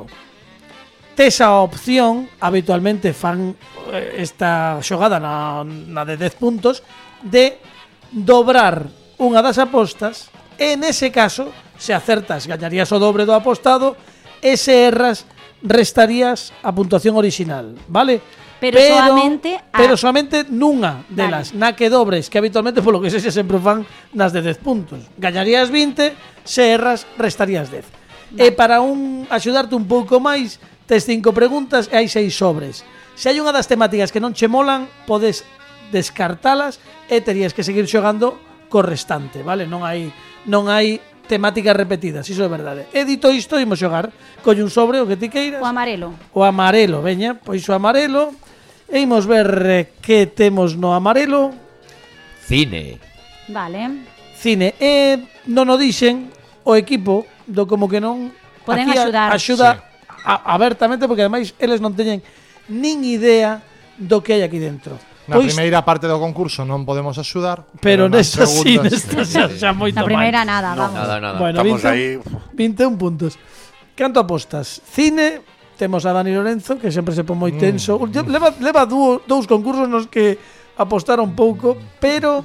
B: tes a opción, habitualmente fan eh, esta xogada na, na de 10 puntos, de dobrar unha das apostas e nese caso, se acertas, gañarías o dobre do apostado e se erras, restarías a puntuación orixinal, vale?
F: Pero soamente a-
B: Pero solamente nunha delas,
F: Vale.
B: na que dobres, que habitualmente polo que sexa sempre fan nas de 10 puntos. Gañarías 20, se erras, restarías 10. E para un axudarte un pouco máis, tes cinco preguntas e hai seis sobres. Se hai unha das temáticas que non che molan, podes descartalas e terías que seguir xogando co restante, vale? Non hai non hai temáticas repetidas, iso é verdade. E dito isto, imos xogar colle un sobre o que ti queiras.
F: O amarelo.
B: O amarelo, veña, pois o amarelo. E imos ver eh, que temos no amarelo.
E: Cine.
F: Vale.
B: Cine. E non o dixen o equipo do como que non
F: Poden
B: aquí a-
F: axudar.
B: Axuda a, abertamente porque ademais eles non teñen nin idea do que hai aquí dentro.
C: Na
B: Pois,
C: primeira parte do concurso non podemos axudar,
B: Pues- pero
C: nas
B: nesta sí,
C: segundas-
B: nesta xa, xa moito
F: Na primeira nada,
D: No,
F: vamos.
E: Nada, nada.
B: Bueno,
D: Estamos
B: 21,
D: ahí.
B: 21 puntos. Canto apostas? Cine, temos a Dani Lorenzo, que sempre se pon moi tenso. Ulti- Leva, leva dúo, dous concursos nos que apostaron pouco, pero...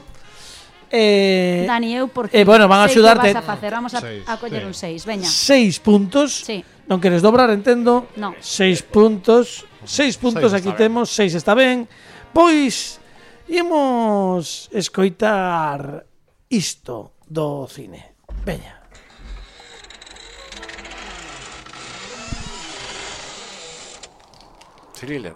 B: Eh,
F: Dani, eu porque
B: eh, bueno, van a
F: sei que
B: axudarte.
F: vas a facer. Vamos a,
C: Seis,
F: a coller
C: sí.
F: un 6, veña.
B: 6 puntos.
F: Sí.
B: Non queres dobrar, entendo.
F: No.
B: 6 puntos. 6 puntos
C: Seis
B: aquí
C: está ben.
B: temos, 6 está ben. Pois imos escoitar isto do cine. Veña.
D: Thriller.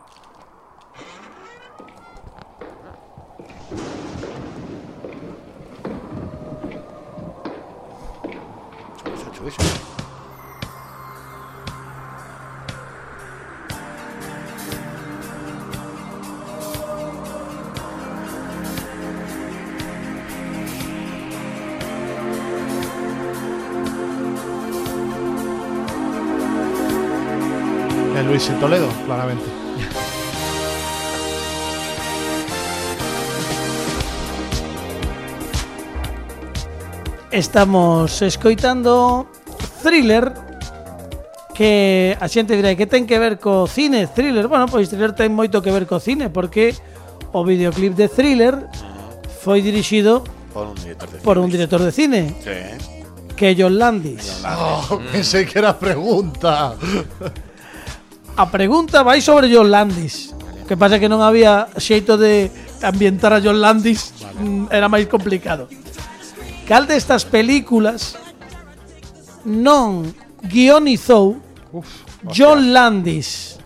D: Ocho, ocho.
C: el Luis en Toledo, claramente.
B: Estamos escoitando Thriller que a xente dirá que ten que ver co cine, Thriller. Bueno, pois Thriller ten moito que ver co cine porque o videoclip de Thriller foi dirixido
D: Por un director de
B: por un
D: cine.
B: director de cine,
D: Sí.
B: que é John Landis.
C: Oh, pensei que era pregunta.
B: A pregunta vai sobre John Landis. Que pasa que non había xeito de ambientar a John Landis, mm, era máis complicado. Cal destas películas non guionizou John Landis?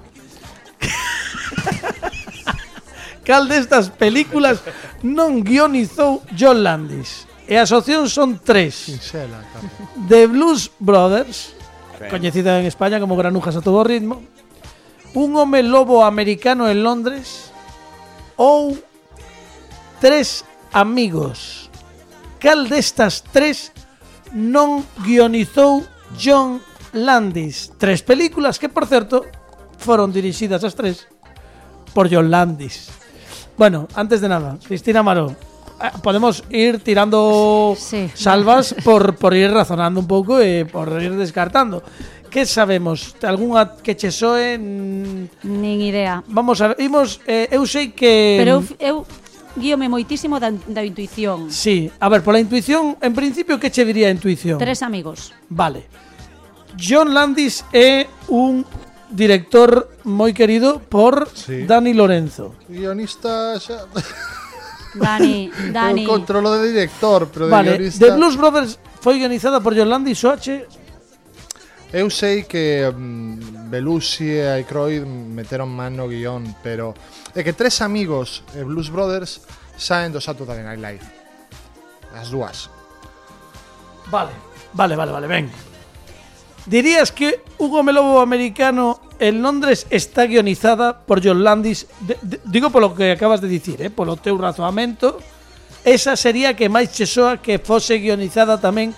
B: Cal destas películas non guionizou John Landis? E as opcións son tres.
C: Pinxela, cara.
B: The Blues Brothers,
D: Sí.
B: coñecida en España como Granujas a todo ritmo, Un home lobo americano en Londres ou Tres amigos. Cal destas tres non guionizou John Landis? Tres películas que, por certo, foron dirixidas as tres por John Landis. Bueno, antes de nada, Cristina Maró, ah, podemos ir tirando
F: Sí.
B: salvas por, por ir razonando un pouco e por ir descartando. Que sabemos? Algúnha que che soe? Mm,
F: Nin idea.
B: Vamos a ver, imos, eh, eu sei que...
F: Pero eu, eu guíome moitísimo da, da intuición.
B: Sí, a ver, pola intuición, en principio, que che diría a intuición?
F: Tres amigos.
B: Vale. John Landis é un director moi querido por
C: Sí.
B: Dani Lorenzo.
C: Guionista, xa...
F: Dani, Dani.
C: Eu controlo de director, pero de
B: vale,
C: guionista...
B: The Blues Brothers foi guionizada por John Landis, Soache.
C: Eu sei que mm, Belushi e Aykroyd meteron man no guión, pero é que tres amigos e Blues Brothers saen do Saturday Night Live. As dúas.
B: Vale, vale, vale, vale, ven. Dirías que un home lobo americano en Londres está guionizada por John Landis. De- de- digo polo que acabas de dicir, eh, polo teu razoamento. Esa sería a que máis che soa que fose guionizada tamén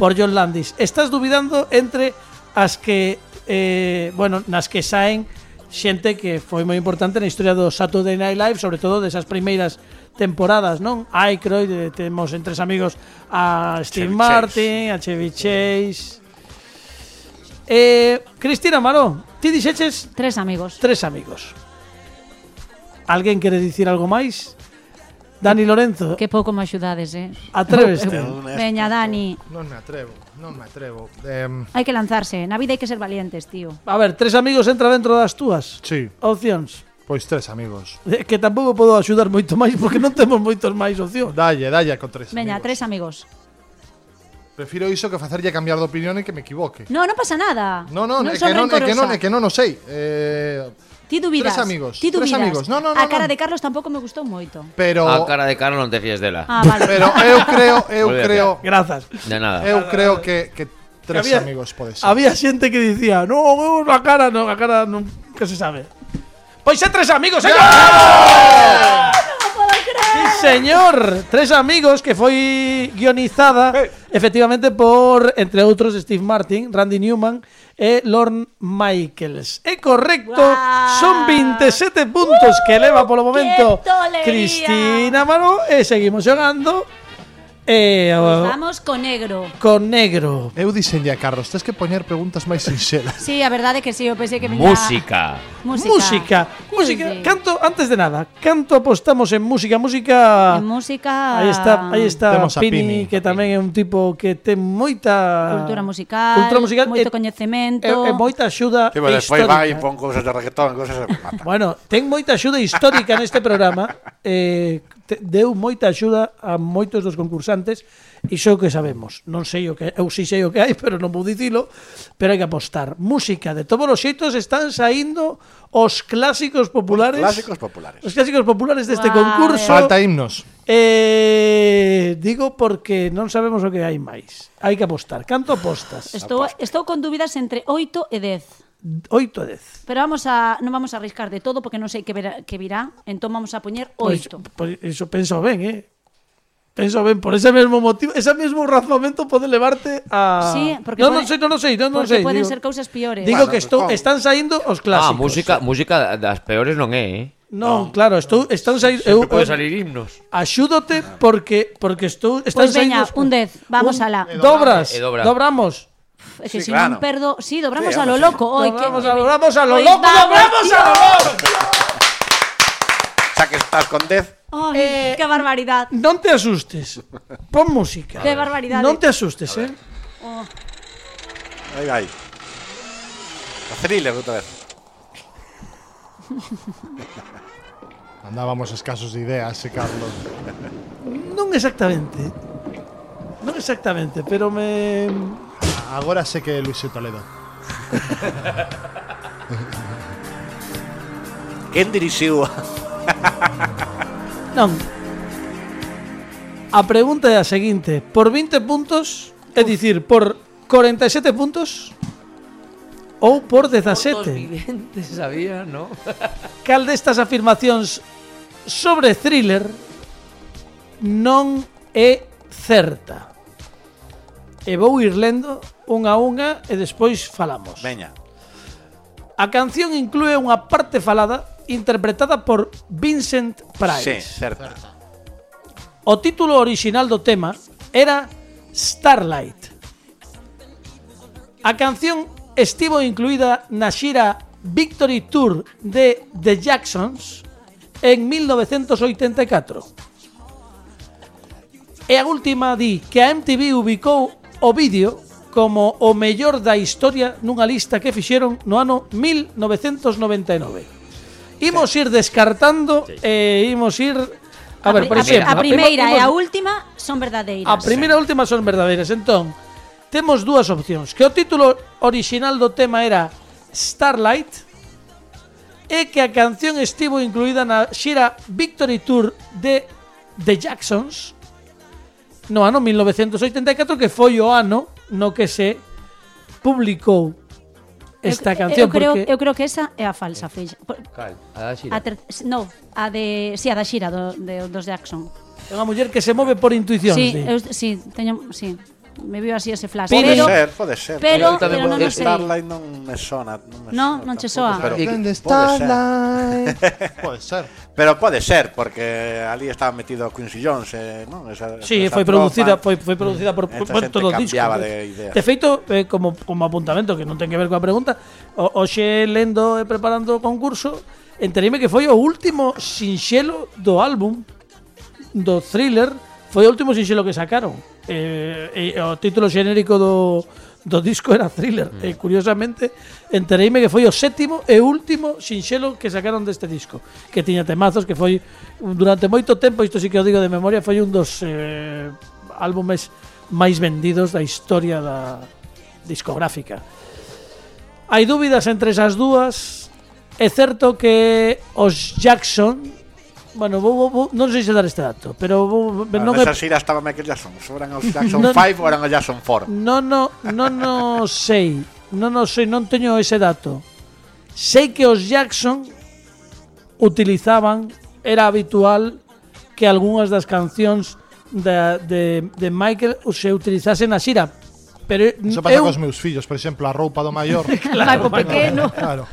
B: por John Landis. Estás dubidando entre as que eh, bueno, nas que saen xente que foi moi importante na historia do Saturday Night Live, sobre todo desas primeiras temporadas, non? Aykroyd, eh, temos entre os amigos a Steve
D: Chevy
B: Martin, a Chevy Chase. Eh, Cristina Maró, ti dixeches
F: Tres amigos.
B: tres amigos. Alguén quere dicir algo máis? Dani Lorenzo,
F: Que pouco me axudades, eh?
B: atréveste.
F: Veña, Dani.
C: Non me atrevo, non me atrevo. Em,
F: Hai que lanzarse. Na vida hai que ser valientes, tío.
B: A ver, tres amigos entra dentro das túas
C: sí,
B: opcións.
C: pois tres amigos.
B: Eh, Que tampouco podo axudar moito máis porque non temos moitos máis opcións.
C: Dalle, dalle con tres amigos.
F: Veña, tres amigos.
C: Prefiro iso que facerlle cambiar de opinión e que me equivoque.
F: No, non pasa nada.
C: No, no, é que
F: son
C: non, é que non, é
F: rencorosa.
C: que non o sei. Eh,
F: Ti dubidas.
C: Tres amigos,
F: Ti
C: tres
F: dubidas.
C: amigos. No, no, no,
F: A cara
C: no.
F: de Carlos tampouco me gustou moito.
C: pero
E: A Ah, cara de cara non te fíes dela.
F: Ah, vale.
C: pero eu creo, eu
E: Muy bien,
C: creo,
B: Grazas.
E: De nada.
B: Eh,
C: eu creo que que tres
B: Había-
C: amigos pode ser.
B: Había xente que dicía, no, eu a cara, non, a cara non, que se sabe. Pois é tres amigos, señor! Sí, señor, tres amigos que foi guionizada efectivamente por, entre outros, Steve Martin, Randy Newman e Lorne Michaels. É correcto,
F: Guau. Uh,
B: son 27 puntos que leva polo momento
F: qué tolería.
B: Cristina Mano e seguimos xogando e, o,
F: Pois Vamos co negro.
B: con negro.
C: Eu diseñei a Carlos, tens que poñer preguntas máis sinxelas.
F: Sí, a verdade é que sí, eu pensei que viña...
E: Música. Ah,
F: Música.
B: Música. Música.
F: Sí, sí.
B: Canto, antes de nada, canto apostamos en música. Música.
F: En música...
B: Aí está, aí está
C: Temos a
B: Pini,
C: Pini.
B: que tamén é un tipo que ten moita
F: Cultura musical,
B: cultura musical
F: moito
B: e-
F: coñecemento.
C: eh,
B: e, e moita axuda
D: Sí, pero despois
B: histórica.
D: vai e pon cousas de reggaetón, cousas e mata.
B: Bueno, ten moita axuda histórica neste programa. Eh, te, deu moita axuda a moitos dos concursantes e iso é o que sabemos. Non sei o que eu si sei o que hai, pero non vou dicilo, pero hai que apostar. Música de todos os xeitos están saindo os clásicos populares.
D: Clásicos populares.
B: Os clásicos populares deste
F: Guau,
B: concurso.
C: Falta himnos.
B: Eh, digo porque non sabemos o que hai máis. Hai que apostar. Canto apostas?
F: Estou, estou con dúbidas entre 8 e 10.
B: 8 a 10.
F: Pero vamos a non vamos a arriscar de todo porque non sei que verá, que virá, entón vamos a poñer
B: Pois,
F: 8.
B: pois iso penso ben, eh? Penso ben, por ese mesmo motivo, ese mesmo razonamento pode levarte a
F: Sí, porque
B: Non,
F: pode-
B: non sei, non, non sei, non, non sei.
F: porque poden
B: digo,
F: ser cousas piores.
B: Digo
D: Bueno,
B: que estou,
D: con-
B: están saindo os
E: Ah,
B: clásicos.
E: música, música das peores non é, eh?
B: Non, claro, estou están saindo eu,
E: Sempre pode
B: eu-
E: salir himnos.
B: axúdote porque porque estou están
F: Pois
B: saindo
F: veña,
B: os-
F: Pues un 10, vamos alá.
B: Dobras,
E: E dobra.
B: dobramos.
F: É que
D: Sí,
F: si non
D: claro.
F: perdo, si dobramos
D: Sí,
F: a lo
D: vamos,
F: loco, oi que
B: Dobramos a lo dobramos a lo
F: Pois
B: loco,
F: vamos,
B: dobramos a lo
F: tío.
B: loco.
D: Xa que estás con 10,
B: Eh,
F: Ai, que barbaridade.
B: Non te asustes. Pon música.
F: Que barbaridade.
B: Non te asustes, eh.
F: Oh,
D: aí vai. A thriller outra vez.
C: Andábamos escasos de ideas, eh, Carlos.
B: Non exactamente. Non exactamente, pero me
C: Agora sé que é Luis Toledo.
D: Quen dirixiu?
B: non. A pregunta é a seguinte, por 20 puntos, é dicir, por 47 puntos ou por 17.
E: viventes sabía, ¿no?
B: Cal destas afirmacións sobre thriller non é certa? E vou ir lendo unha a unha e despois falamos.
D: Veña.
B: A canción inclúe unha parte falada interpretada por Vincent
D: Sí,
B: Price.
D: certa.
B: O título orixinal do tema era Starlight. A canción estivo incluída na xira Victory Tour de The Jacksons en 1984. E a última di que a MTV ubicou o vídeo como o mellor da historia nunha lista que fixeron no ano 1999. Imos ir descartando e imos ir A ver, por
F: pri-
B: exemplo,
F: a primeira
B: imos-
F: e a última son verdadeiras.
B: A primeira e a última son verdadeiras. Entón, temos dúas opcións. Que o título orixinal do tema era Starlight e que a canción estivo incluída na xira Victory Tour de The Jacksons no ano 1984 que foi o ano no que se publicou esta
F: eu,
B: canción
F: eu eh, creo,
B: porque
F: eu creo que esa é a falsa, filla. Por-
E: Cal, a da xira.
F: A ter, no, a de, si, a da xira do, de, dos Jackson.
B: é unha muller que se move por intuición.
F: Sí,
B: di.
F: eu, sí, teño, sí. me viu así ese flash.
E: Pode
F: pero,
D: ser, pode ser.
F: pero,
E: Pero
F: pero non o sei.
D: Starlight non me sona. Non, me
F: No,
D: sona
F: non che
D: tampouco,
F: soa.
D: Pero,
E: Y-
C: ¿Dónde
D: pode
C: está
D: ser.
C: la- Puede ser.
D: Pero pode ser, porque ali estaba metido Quincy Jones, eh, non? Esa,
B: Sí,
D: esa
B: foi producida,
D: tropa.
B: foi, foi producida por, por,
D: Esta
B: por
D: xente
B: todos os discos.
D: cambiaba de idea.
B: De feito, eh, como, como apuntamento que non ten que ver coa pregunta, o, hoxe lendo e preparando o concurso, entereime que foi o último sinxelo do álbum do Thriller, foi o último sinxelo que sacaron. Eh, e o título xenérico do do disco era Thriller. E curiosamente entereime que foi o sétimo e último sinxelo que sacaron deste disco, que tiña temazos que foi durante moito tempo, isto sí que o digo de memoria, foi un dos eh, álbumes máis vendidos da historia da discográfica. Hai dúbidas entre esas dúas. É certo que os Jackson Bueno, vou, vou, vou, non sei se dar este dato, pero vou,
D: Ah,
B: non, é,
D: Nesa xira estaba Michael Jackson. Sobran os Jackson
B: Non-
D: 5 ou eran os Jackson 4.
B: non, no, non, non sei, non, non sei, non teño ese dato. Sei que os Jackson utilizaban, era habitual que algunhas das cancións de, de, de Michael se utilizasen na xira, pero
C: Eso pasa
B: eu-
C: cos meus fillos, por exemplo, a roupa do maior.
F: Claro, pequeno.
C: Claro.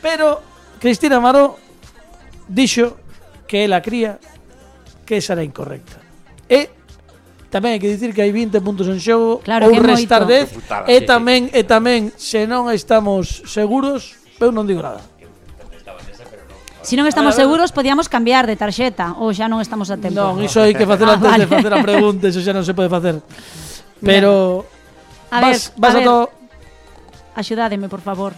B: Pero Cristina Amaro dixo que ela cría que esa era incorrecta. E tamén hai que dicir que hai 20 puntos en xogo
F: Claro,
B: ou
F: que é
B: restar 10
F: moito.
D: Que putada,
B: e
E: sí,
B: tamén e tamén se non estamos seguros, eu non digo nada.
F: Si non
B: A
F: estamos
B: ver, a ver.
F: seguros, podíamos cambiar de tarxeta ou xa non estamos a tempo.
B: Non, iso hai que facer
F: Ah,
B: antes de
F: vale.
B: facer a pregunta, iso xa non se pode facer. Pero
F: A ver,
B: vas, vas a,
F: a ver,
B: to,
F: axudádeme, por favor.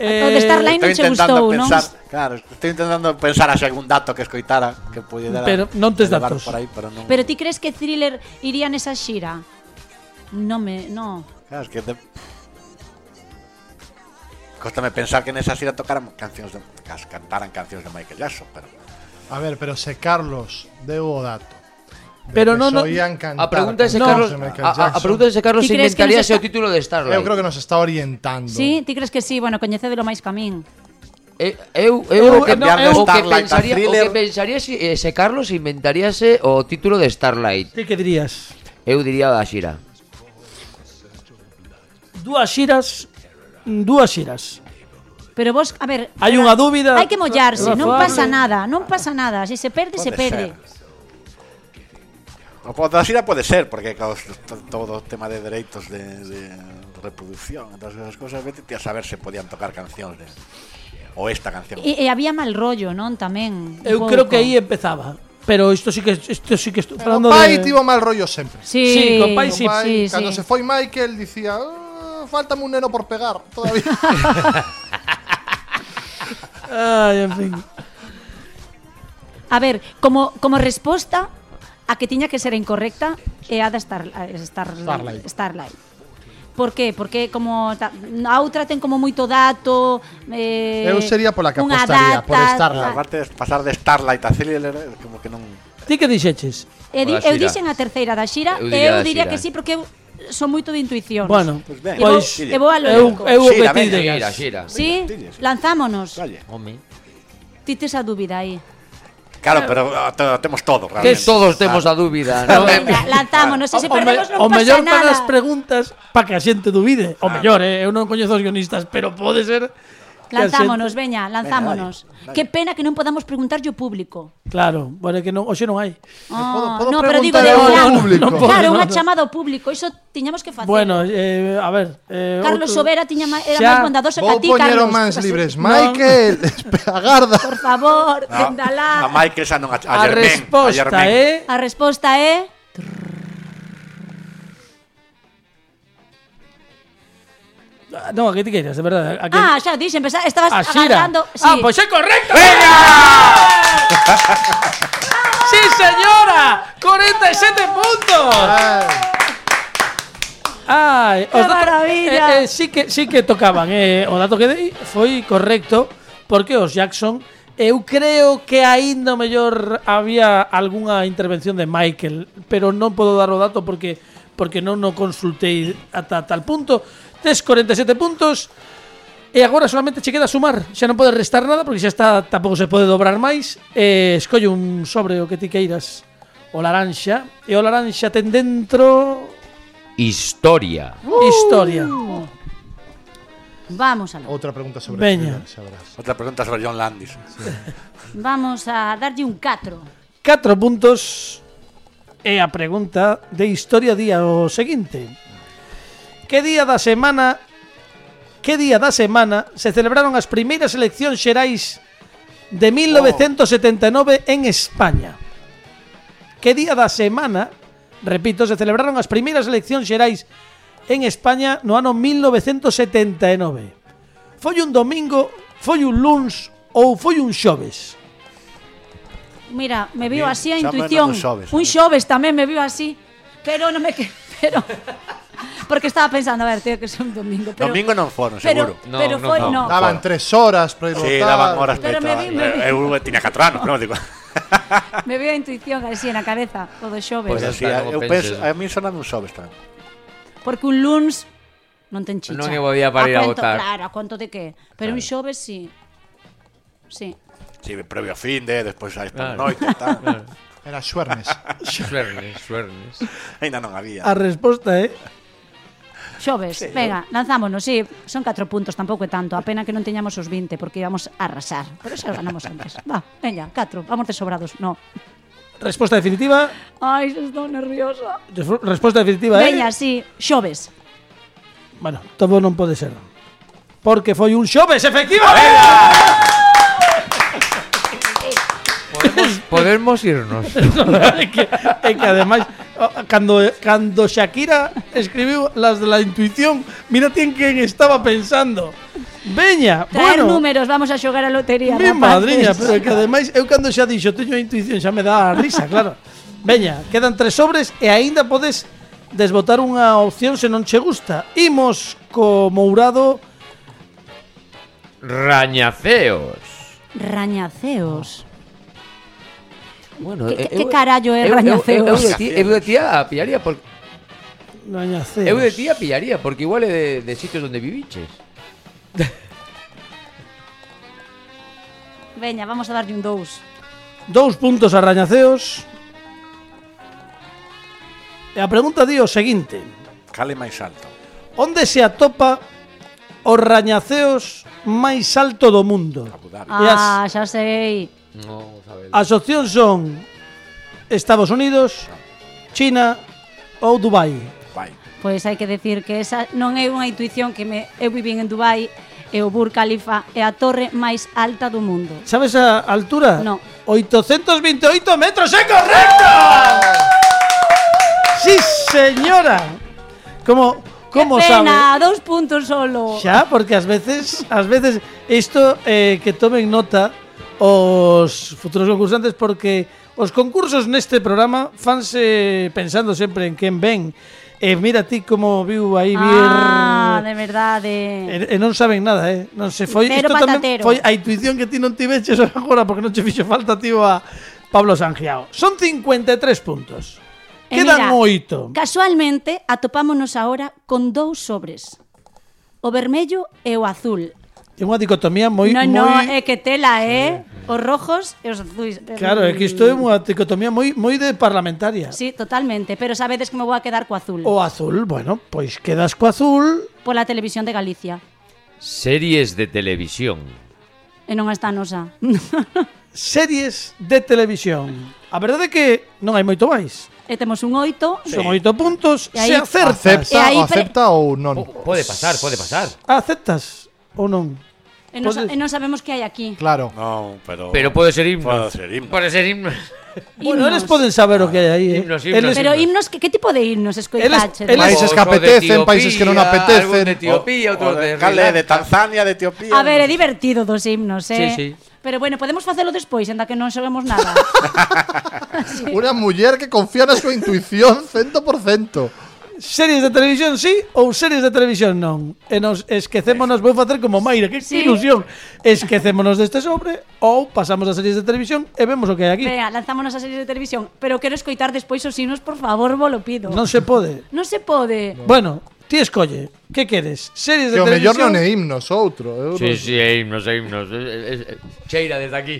B: eh,
F: o de Starline non
D: Estoy
F: che
D: intentando
F: gustou, non?
D: pensar, claro, estoy intentando pensar hacia algún dato que escoitara que pudiera
B: Pero non tes
D: elevar
B: datos.
D: por aí, pero non.
F: Pero ti crees que Thriller iría nesa xira? Non me, no.
D: Claro, es que te... Cóstame pensar que en esa xira tocaran cancións de cas- cantaran cancións de Michael Jackson, pero
C: A ver, pero se Carlos deu o dato. de
B: Pero
C: que
B: no, no-
C: soían cantar
E: A pregunta ese
C: cancións
E: Carlos,
C: de Michael
E: a, a- a
C: Jackson.
E: pregunta ese Carlos
F: Ti
E: se
F: crees que
E: inventaría
F: nos
E: ese o
F: está-
E: título de Starlight.
C: Eu creo que nos está orientando.
F: Sí, ti crees que sí, bueno, coñecédelo máis que a min.
E: Eh, eu,
B: Eu-
E: eu, o que,
B: no,
E: o
B: eu-
E: que
D: Starlight a
E: pensaría, o
D: Thriller.
E: que pensaría si ese Carlos se inventaríase o título de Starlight.
B: ti que dirías?
E: Eu diría a Xira.
B: Dúas xiras, dúas xiras.
F: Pero vos, a ver,
B: Hai
F: pero
B: unha dúbida.
F: Hai que mollarse, non
B: Razonable.
F: pasa nada, non pasa nada, se se perde, se
D: Pode
F: perde.
D: o po- da xira pode ser, porque cos, to- todo o tema de dereitos de, de reproducción, e todas esas cosas, vete ti a saber se podían tocar cancións de o esta canción.
F: E, e había mal rollo, non, tamén. un
B: Eu
F: pouco.
B: creo que aí empezaba. Pero isto sí que isto sí que estou
C: Pero
B: falando
C: pai
B: de
C: tivo mal rollo sempre.
F: Sí,
B: Sí, con Pai sí,
C: O pai,
F: sí,
C: cando se
F: sí.
C: foi Michael, dicía, "Ah, fáltame un neno por pegar todavía.
B: Ai, en fin.
F: A ver, como, como resposta a que tiña que ser incorrecta é a da Star, a Star,
C: Starlight.
F: Starlight. Por que? Porque como ta, a outra ten como moito dato eh,
C: Eu sería pola que
F: unha
C: apostaría, por
F: ah.
C: Starlight.
D: Aparte de pasar de Starlight a Thriller, eh, como que non...
B: Ti que dixeches?
F: E di,
E: Pola
F: eu
E: xira.
F: dixen a terceira da xira
E: Eu diría
F: eu diría,
E: da
F: eu diría
E: xira,
F: que
E: eh.
F: sí porque eu son moito de intuición.
B: Bueno,
D: Pois ben,
F: e vou,
B: pois
F: e vou a lo
B: eu
F: loco.
B: eu o que
D: Xira,
B: ti
D: veña,
B: digas.
E: Xira, xira.
F: Sí,
D: Dille, sí.
F: lanzámonos.
D: Oye,
E: Home.
F: Ti tes a dúbida aí.
D: claro, pero ah, to- temos todo,
E: Que
D: realmente.
E: todos temos a dúbida, non?
F: Venga, lanzámonos, e
B: O,
F: se
B: me,
F: perdemos
B: o
F: non pasa
B: mellor para
F: nada.
B: as preguntas para que a xente dubide. O mellor, eh, eu non coñezo os guionistas, pero pode ser que a
F: Lanzámonos,
B: xente-
F: veña, lanzámonos.
D: Veña, dai, dai.
F: Que pena que non podamos preguntarlle ao público.
B: Claro, bueno, é que non, hoxe non hai.
F: Ah,
C: podo
F: no, pero digo
C: Eh, preguntar
F: de
C: ao
F: plan.
C: público?
B: Non podo,
F: claro,
B: non,
F: unha
B: non.
F: chamada ao público, iso tiñamos que facer.
B: Bueno, eh, a ver, eh,
F: Carlos
B: outro-
F: Sobera tiña ma- era
B: Xa-
F: máis bondadoso que
C: Vou
F: a ti,
C: poñer
F: Carlos.
C: o mans libres.
F: Por
C: Michael, espera, agarda.
F: favor,
D: Ah,
F: dendalá.
D: a Michael xa non a, a,
B: A
D: Germain,
B: resposta
D: a
B: é
F: A resposta eh. é
B: Non, eh. a que ti queiras, de verdade, a que
F: Ah, xa dixen, pensaba- estabas
B: a xira.
F: agarrando, sí.
B: Ah, pois é correcta. Sí, señora. 47 puntos. Ai,
C: Ai,
F: Que maravilla.
B: Eh, eh, sí que sí que tocaban, eh, o dato que dei foi correcto porque os Jackson eu creo que aínda o mellor había algunha intervención de Michael, pero non podo dar o dato porque porque non o consultei ata tal punto. Tes 47 puntos. E agora solamente che queda sumar Xa non podes restar nada porque xa está Tampouco se pode dobrar máis E escolle un sobre o que ti queiras o laranxa, e o laranxa ten dentro
E: Historia.
B: historia.
F: Vamos a,
C: Otra pregunta sobre
B: Veña.
C: thriller, sabrás.
D: Otra pregunta sobre John Landis.
F: vamos a darlle un 4.
B: Catro puntos e a pregunta de historia día o seguinte. Que día da semana Que día da semana se celebraron as primeiras eleccións xerais de 1979 en España? Que día da semana, repito, se celebraron as primeiras eleccións xerais en España no ano 1979? Foi un domingo, foi un luns ou foi un xoves?
F: Mira, me viu
D: Bien,
F: así a
D: xa
F: intuición.
D: menos xoves,
F: un
D: ¿no?
F: xoves tamén me viu así, pero non me que, pero porque estaba pensando, a ver, tío, que é un domingo, pero
D: Domingo non foron,
F: pero,
D: seguro. Ah.
E: No,
F: pero
E: no,
F: foi
E: no.
F: no.
C: Daban
E: Joder.
C: tres horas para ir
D: Sí,
C: votar.
D: daban horas
F: Pero
D: para
F: me vi-
D: entrar.
F: me vi.
D: Eh, Eu tiña 4 anos, non digo.
F: Me viu a intuición así na cabeza, todo xoves,
E: Pois
D: Pero
E: Pues
D: sí, eh,
E: está, como
D: eu
E: penses.
D: penso, a mí soname un xoves tamén.
F: porque un luns non ten chicha.
E: Non é bo día para ir a
F: cuento,
E: votar.
F: Claro, a conto de que, pero un xoves si. Sí.
D: Sí, previo a fin de, despois a esta
E: Claro.
D: noite e tal.
C: Era suernes.
E: Suernes, suernes.
D: Ainda non había.
B: A resposta é
F: Xoves, venga, lanzámonos, sí, son 4 puntos, tampouco é tanto, a pena que non teñamos os 20 porque íbamos a arrasar, pero xa ganamos antes. Va, veña, 4, vamos de sobrados, no.
B: Resposta definitiva.
F: Ai, xa estou nerviosa.
B: Resf- Resposta definitiva é...
F: Veña, sí, xoves.
B: Bueno, todo non pode ser. Porque foi un xoves, efectivamente.
E: Podemos irnos.
B: é que, é que ademais, o- cando, cando Shakira escribiu las de la intuición, mira ti en quen estaba pensando. Veña,
F: Traer
B: bueno,
F: números, vamos a xogar a lotería.
B: mi
F: rapaces.
B: madriña, pero é que ademais eu cando xa dixo teño a intuición xa me dá a risa, claro. Veña, quedan tres sobres e aínda podes desbotar unha opción se non che gusta. Imos co Mourado
E: Rañaceos.
F: Rañaceos.
E: Bueno, eh,
F: Que- que- que carallo é rañaceos?
E: Eu, eu, de ti- eu de tía pillaría porque
B: Rañaceos.
E: eu de tía pillaría porque igual é de, de sitios onde viviches.
F: Veña, vamos a darlle un 2.
B: Dous puntos a Rañaceos. E a pregunta di o seguinte.
D: Cale máis alto.
B: Onde se atopa o Rañaceos máis alto do mundo?
D: Abu Dhabi.
F: Ah, xa sei.
E: No, sabes.
B: As opcións son Estados Unidos, China ou Dubai.
D: Vai.
F: Pois hai que decir que esa non é unha intuición que me eu vivín en Dubai e o Burj Khalifa é a torre máis alta do mundo.
B: Sabes a altura?
F: No.
B: 828 metros, é correcto! Sí, señora. Como como
F: que
B: sabe?
F: pena, dous puntos solo.
B: Xa, porque ás veces, ás veces isto eh, que tomen nota os futuros concursantes porque os concursos neste programa fanse pensando sempre en quen ven. E mira ti como viu aí vir.
F: Ah, de verdade.
B: E, e non saben nada, eh. Non se foi
F: Cero
B: isto tamén
F: patatero.
B: foi a intuición que ti non tiveches agora porque non che fixo falta tío a Pablo Sangiao. Son 53 puntos.
F: E
B: Quedan
F: Eh, mira,
B: 8.
F: Casualmente atopámonos agora con dous sobres. O vermello e o azul.
B: É unha dicotomía moi
F: no,
B: moi
F: no, é que tela, é Os rojos e os azuis.
B: Claro, é que isto é unha dicotomía moi moi de parlamentaria.
F: Sí, totalmente, pero sabedes que me vou a quedar co azul.
B: O azul, bueno, pois quedas co azul.
F: Pola televisión de Galicia.
E: Series de televisión.
F: E non está a nosa.
B: Series de televisión. A verdade é que non hai moito máis.
F: e temos un oito.
B: Son oito puntos,
F: E aí-
B: se acertas.
C: ¿Acepta,
F: E ahí
C: o
F: pre-
C: acepta o no?
E: Po- Pode pasar, pode pasar.
B: Aceptas ou non?
F: E non, sa-
B: Podes-
F: e non sabemos que hai aquí.
C: Claro.
D: Non, pero...
E: Pero pode ser himno.
D: Pode ser himno.
E: Pode ser himno.
B: Bueno, eles
F: Himnos.
B: poden saber o que hai aí, eh.
E: Himnos, himnos,
B: Eles
F: Pero
E: himnos.
F: himnos, que, que tipo de himnos escoitaxe?
B: Eles- eles-
C: Países que
E: Otro de
C: apetecen, países que non
E: Etiopía,
C: apetecen.
E: algún de Etiopía, outro de
D: Cale de
E: Irlanda.
D: Tanzania, de Etiopía.
F: A ver, é divertido dos himnos,
E: Sí,
F: eh?
E: sí.
F: Pero bueno, podemos facelo despois, enda que non sabemos nada.
C: Una mujer que confía en su intuición 100%.
B: Series de televisión sí ou series de televisión non? E nos esquecémonos, vou facer como Mayra, que sí.
F: Sí.
B: ilusión. Esquecémonos deste sobre ou pasamos a series de televisión e vemos o que hai aquí.
F: Venga, lanzámonos a series de televisión, pero quero escoitar despois os himnos, por favor, vos lo pido.
B: Non se pode.
F: Non se pode.
B: Bueno, ti escolle. Que queres? Series de
C: Que o mellor
B: televisión.
C: non é himnos, outro. eu non-
E: Sí, sí, é himnos, é himnos. É- é- é- Cheira desde aquí.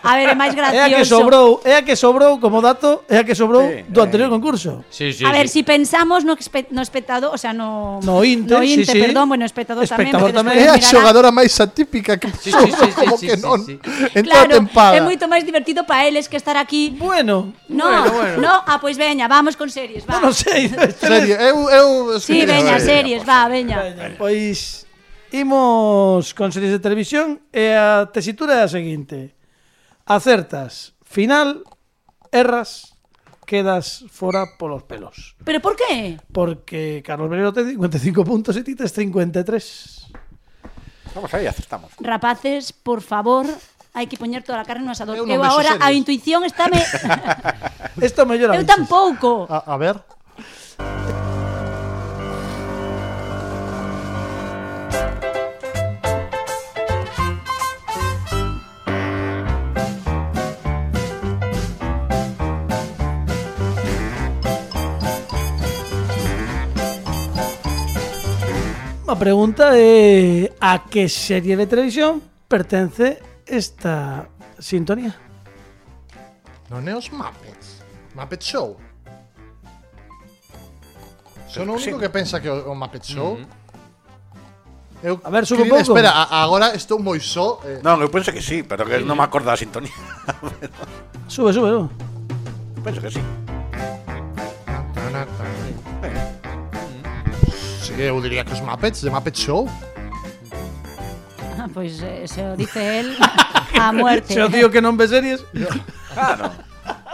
F: A ver, é
B: É
F: máis
B: a
F: gracioso.
B: que sobrou, é a que sobrou como dato, é a que sobrou
D: Sí,
B: do
D: eh.
B: anterior concurso.
E: Sí, sí,
F: A ver,
E: sí.
F: si pensamos no, expe- no espectador, o sea, no...
B: No Inte,
F: no
B: sí, sí.
F: Inte, perdón, bueno, espectador,
B: Espectador
F: tamén.
B: tamén.
C: É a
F: porque despois mirará-
C: xogadora máis atípica que
E: Sí, sí,
C: pasou,
E: sí, sí,
C: como
E: sí,
C: que
E: sí,
C: non.
E: sí.
C: Entrou
F: Claro, é
C: tempada.
F: moito máis divertido para eles que estar aquí.
B: Bueno,
F: No, no, ah, pois veña, vamos con series, va.
B: non o sei.
C: Serio, eu, eu
F: Sí, veña,
D: Series,
F: series,
D: por
F: va, veña.
B: Pois imos con series de televisión e a tesitura é a seguinte. Acertas, final, erras, quedas fora polos pelos.
F: Pero por qué?
B: Porque Carlos Berero ten 55 puntos e ti tes 53.
D: Vamos ahí, acertamos.
F: Rapaces, por favor, hai que poñer toda a carne no asador.
C: Eu non
F: Eu,
C: vexo
F: agora a
C: series.
F: intuición está me
B: Isto mellora.
F: Eu
B: bichos.
F: tampouco.
C: A, a ver.
B: A pregunta é a que serie de televisión pertence esta sintonía?
C: Non é os Muppets. Muppet Show. Son o único que pensa que o, o Muppet Show. Eu
B: A ver, sube un
C: quería-
B: pouco.
C: Espera, a- agora estou moi só. Eh,
D: No, yo pienso que sí, pero que no me acuerdo de la sintonía.
B: Sube, sube. sube.
D: pienso que sí.
C: Sí, eu diría que os Muppets, de Muppet Show.
F: Ah, Pois eh, se o dice él a muerte.
B: Se o tío que non ve series,
D: Claro.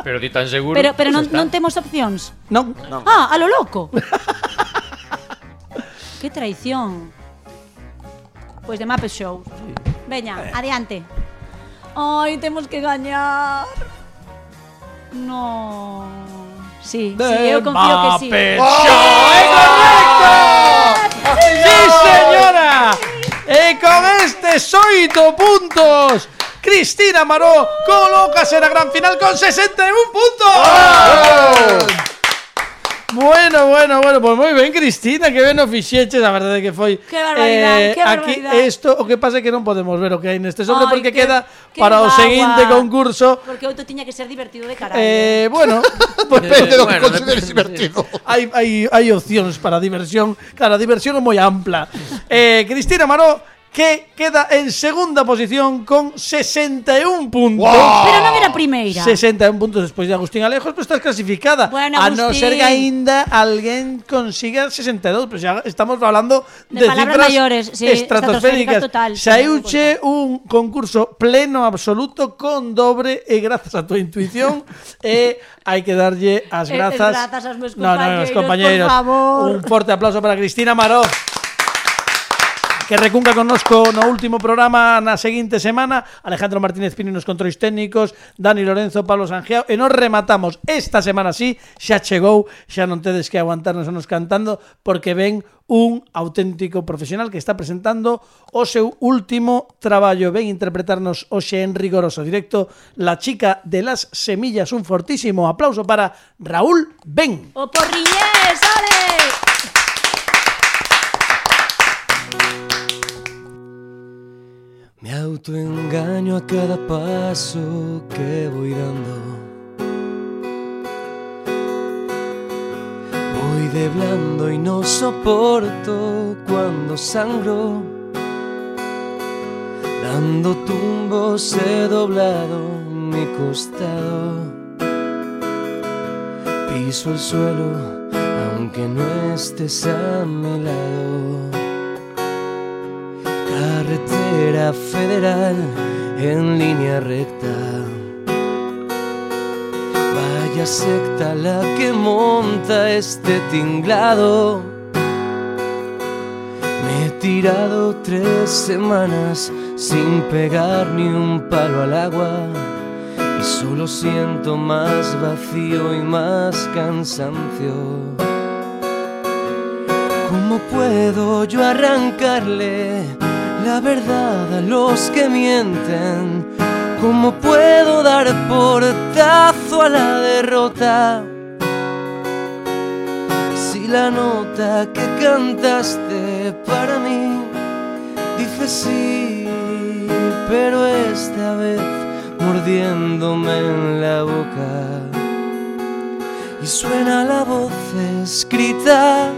E: Pero ti tan seguro.
F: Pero pero non,
E: pues está.
F: non temos opcións.
B: non.
F: Ah, a lo loco. Qué traición. Pois de Muppet Show.
B: Eh.
F: Veña, adiante. Ai, temos que gañar. No. Sí, sí, eu confío que sí.
B: Muppet
E: ¡Oh!
B: Show, é correcto! Sí, señora! E con estes oito puntos, Cristina Maró colócase na gran final con 61 puntos! Bueno, bueno, bueno, pois moi ben, Cristina, que ben o fixeches, a verdade que foi
F: Que barbaridade, que
B: aquí
F: barbaridade.
B: isto, o que pasa é que non podemos ver o que hai neste sobre
F: Ai,
B: porque
F: que-
B: queda
F: que
B: para o
F: guagua.
B: seguinte concurso
F: Porque outro tiña que ser divertido de carallo.
B: Eh, bueno, pues
C: Depende do que
E: bueno,
C: consideres
E: depende,
C: divertido.
B: hai, hai, hai opcións para diversión. Claro, a diversión é moi ampla. Eh, Cristina Maró que queda en segunda posición con 61 puntos.
F: Pero non era a primeira.
B: 61 puntos despois de Agustín Alejos, pero estás clasificada.
F: Bueno,
B: a no ser
F: Agustín.
B: que ainda alguén consiga 62, pero xa estamos hablando de,
F: De palabras
B: cifras
F: maiores, sí,
B: estratosféricas.
F: estratosféricas total, sí,
B: Saeuche un concurso pleno absoluto con dobre e grazas a tua intuición e hai que darlle as
F: E- e
B: grazas.
F: grazas aos meus
B: No, no, aos
F: compañeiros, por
B: compañeiros. Un
F: favor.
B: forte aplauso para Cristina Maró. que recunca connosco no último programa na seguinte semana Alejandro Martínez Pini nos controis técnicos Dani Lorenzo, Pablo Sangeao e nos rematamos esta semana sí xa chegou, xa non tedes que aguantarnos a nos cantando porque ven un auténtico profesional que está presentando o seu último traballo ven interpretarnos hoxe en rigoroso directo La chica de las semillas un fortísimo aplauso para Raúl Ben
F: O porriñés, ole!
H: Me autoengaño a cada paso que voy dando. Voy de blando y no soporto cuando sangro. Dando tumbos he doblado mi costado. Piso el suelo aunque no estés a mi lado. Carretera federal en línea recta. Vaya secta la que monta este tinglado. Me he tirado tres semanas sin pegar ni un palo al agua. Y solo siento más vacío y más cansancio. ¿Cómo puedo yo arrancarle la verdad a los que mienten? ¿Cómo puedo dar portazo a la derrota? Si la nota que cantaste para mí dice sí, pero esta vez
B: mordiéndome en la boca. Y suena la voz escrita,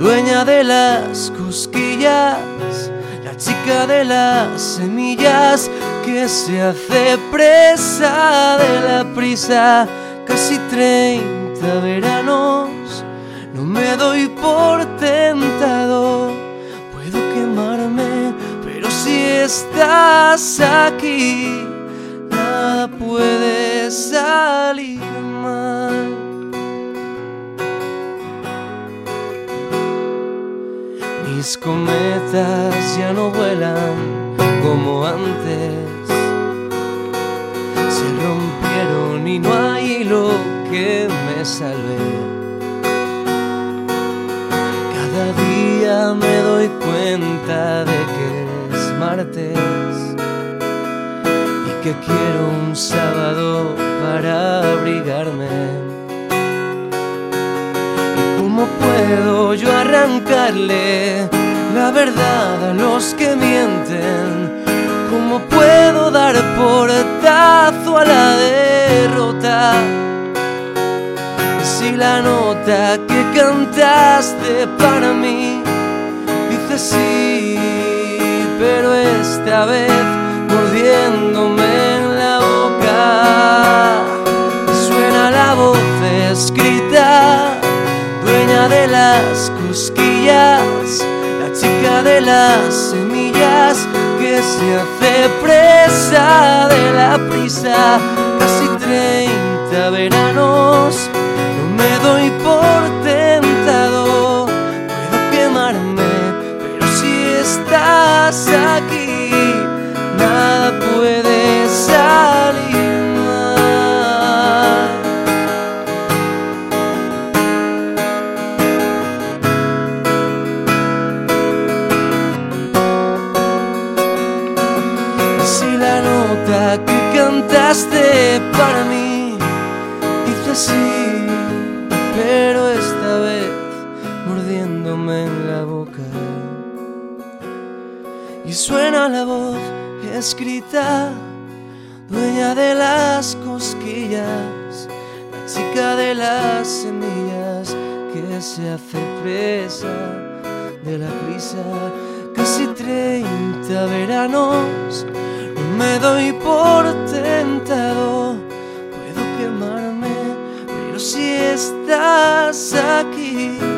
B: dueña de las cosquillas, la chica de las semillas que se hace presa de la prisa. Casi 30 veranos, no me doy por tentado, puedo quemarme, pero si estás aquí, nada puede salir mal. Mis cometas ya no vuelan como antes. Se rompieron y no hay lo que me salve. Cada día me doy cuenta de que es martes y que quiero un sábado para abrigarme. ¿Cómo puedo yo arrancarle la verdad a los que mienten? ¿Cómo puedo dar portazo a la derrota? Si la nota que cantaste para mí dice sí, pero esta vez mordiéndome en la boca suena la voz escrita, dueña de las cosquillas, la chica de las semillas que se hace presa de la prisa. Casi 30 veranos, no me doy por tentado, puedo quemarme, pero si estás aquí, nada puede salir mal. Y si la nota que cantaste para mí dice sí, pero esta vez mordiéndome en la boca. Y suena la voz escrita, dueña de las cosquillas, la chica de las semillas que se hace presa de la prisa. Casi 30 veranos, no me doy por tentado. Puedo quemarme, pero si estás aquí,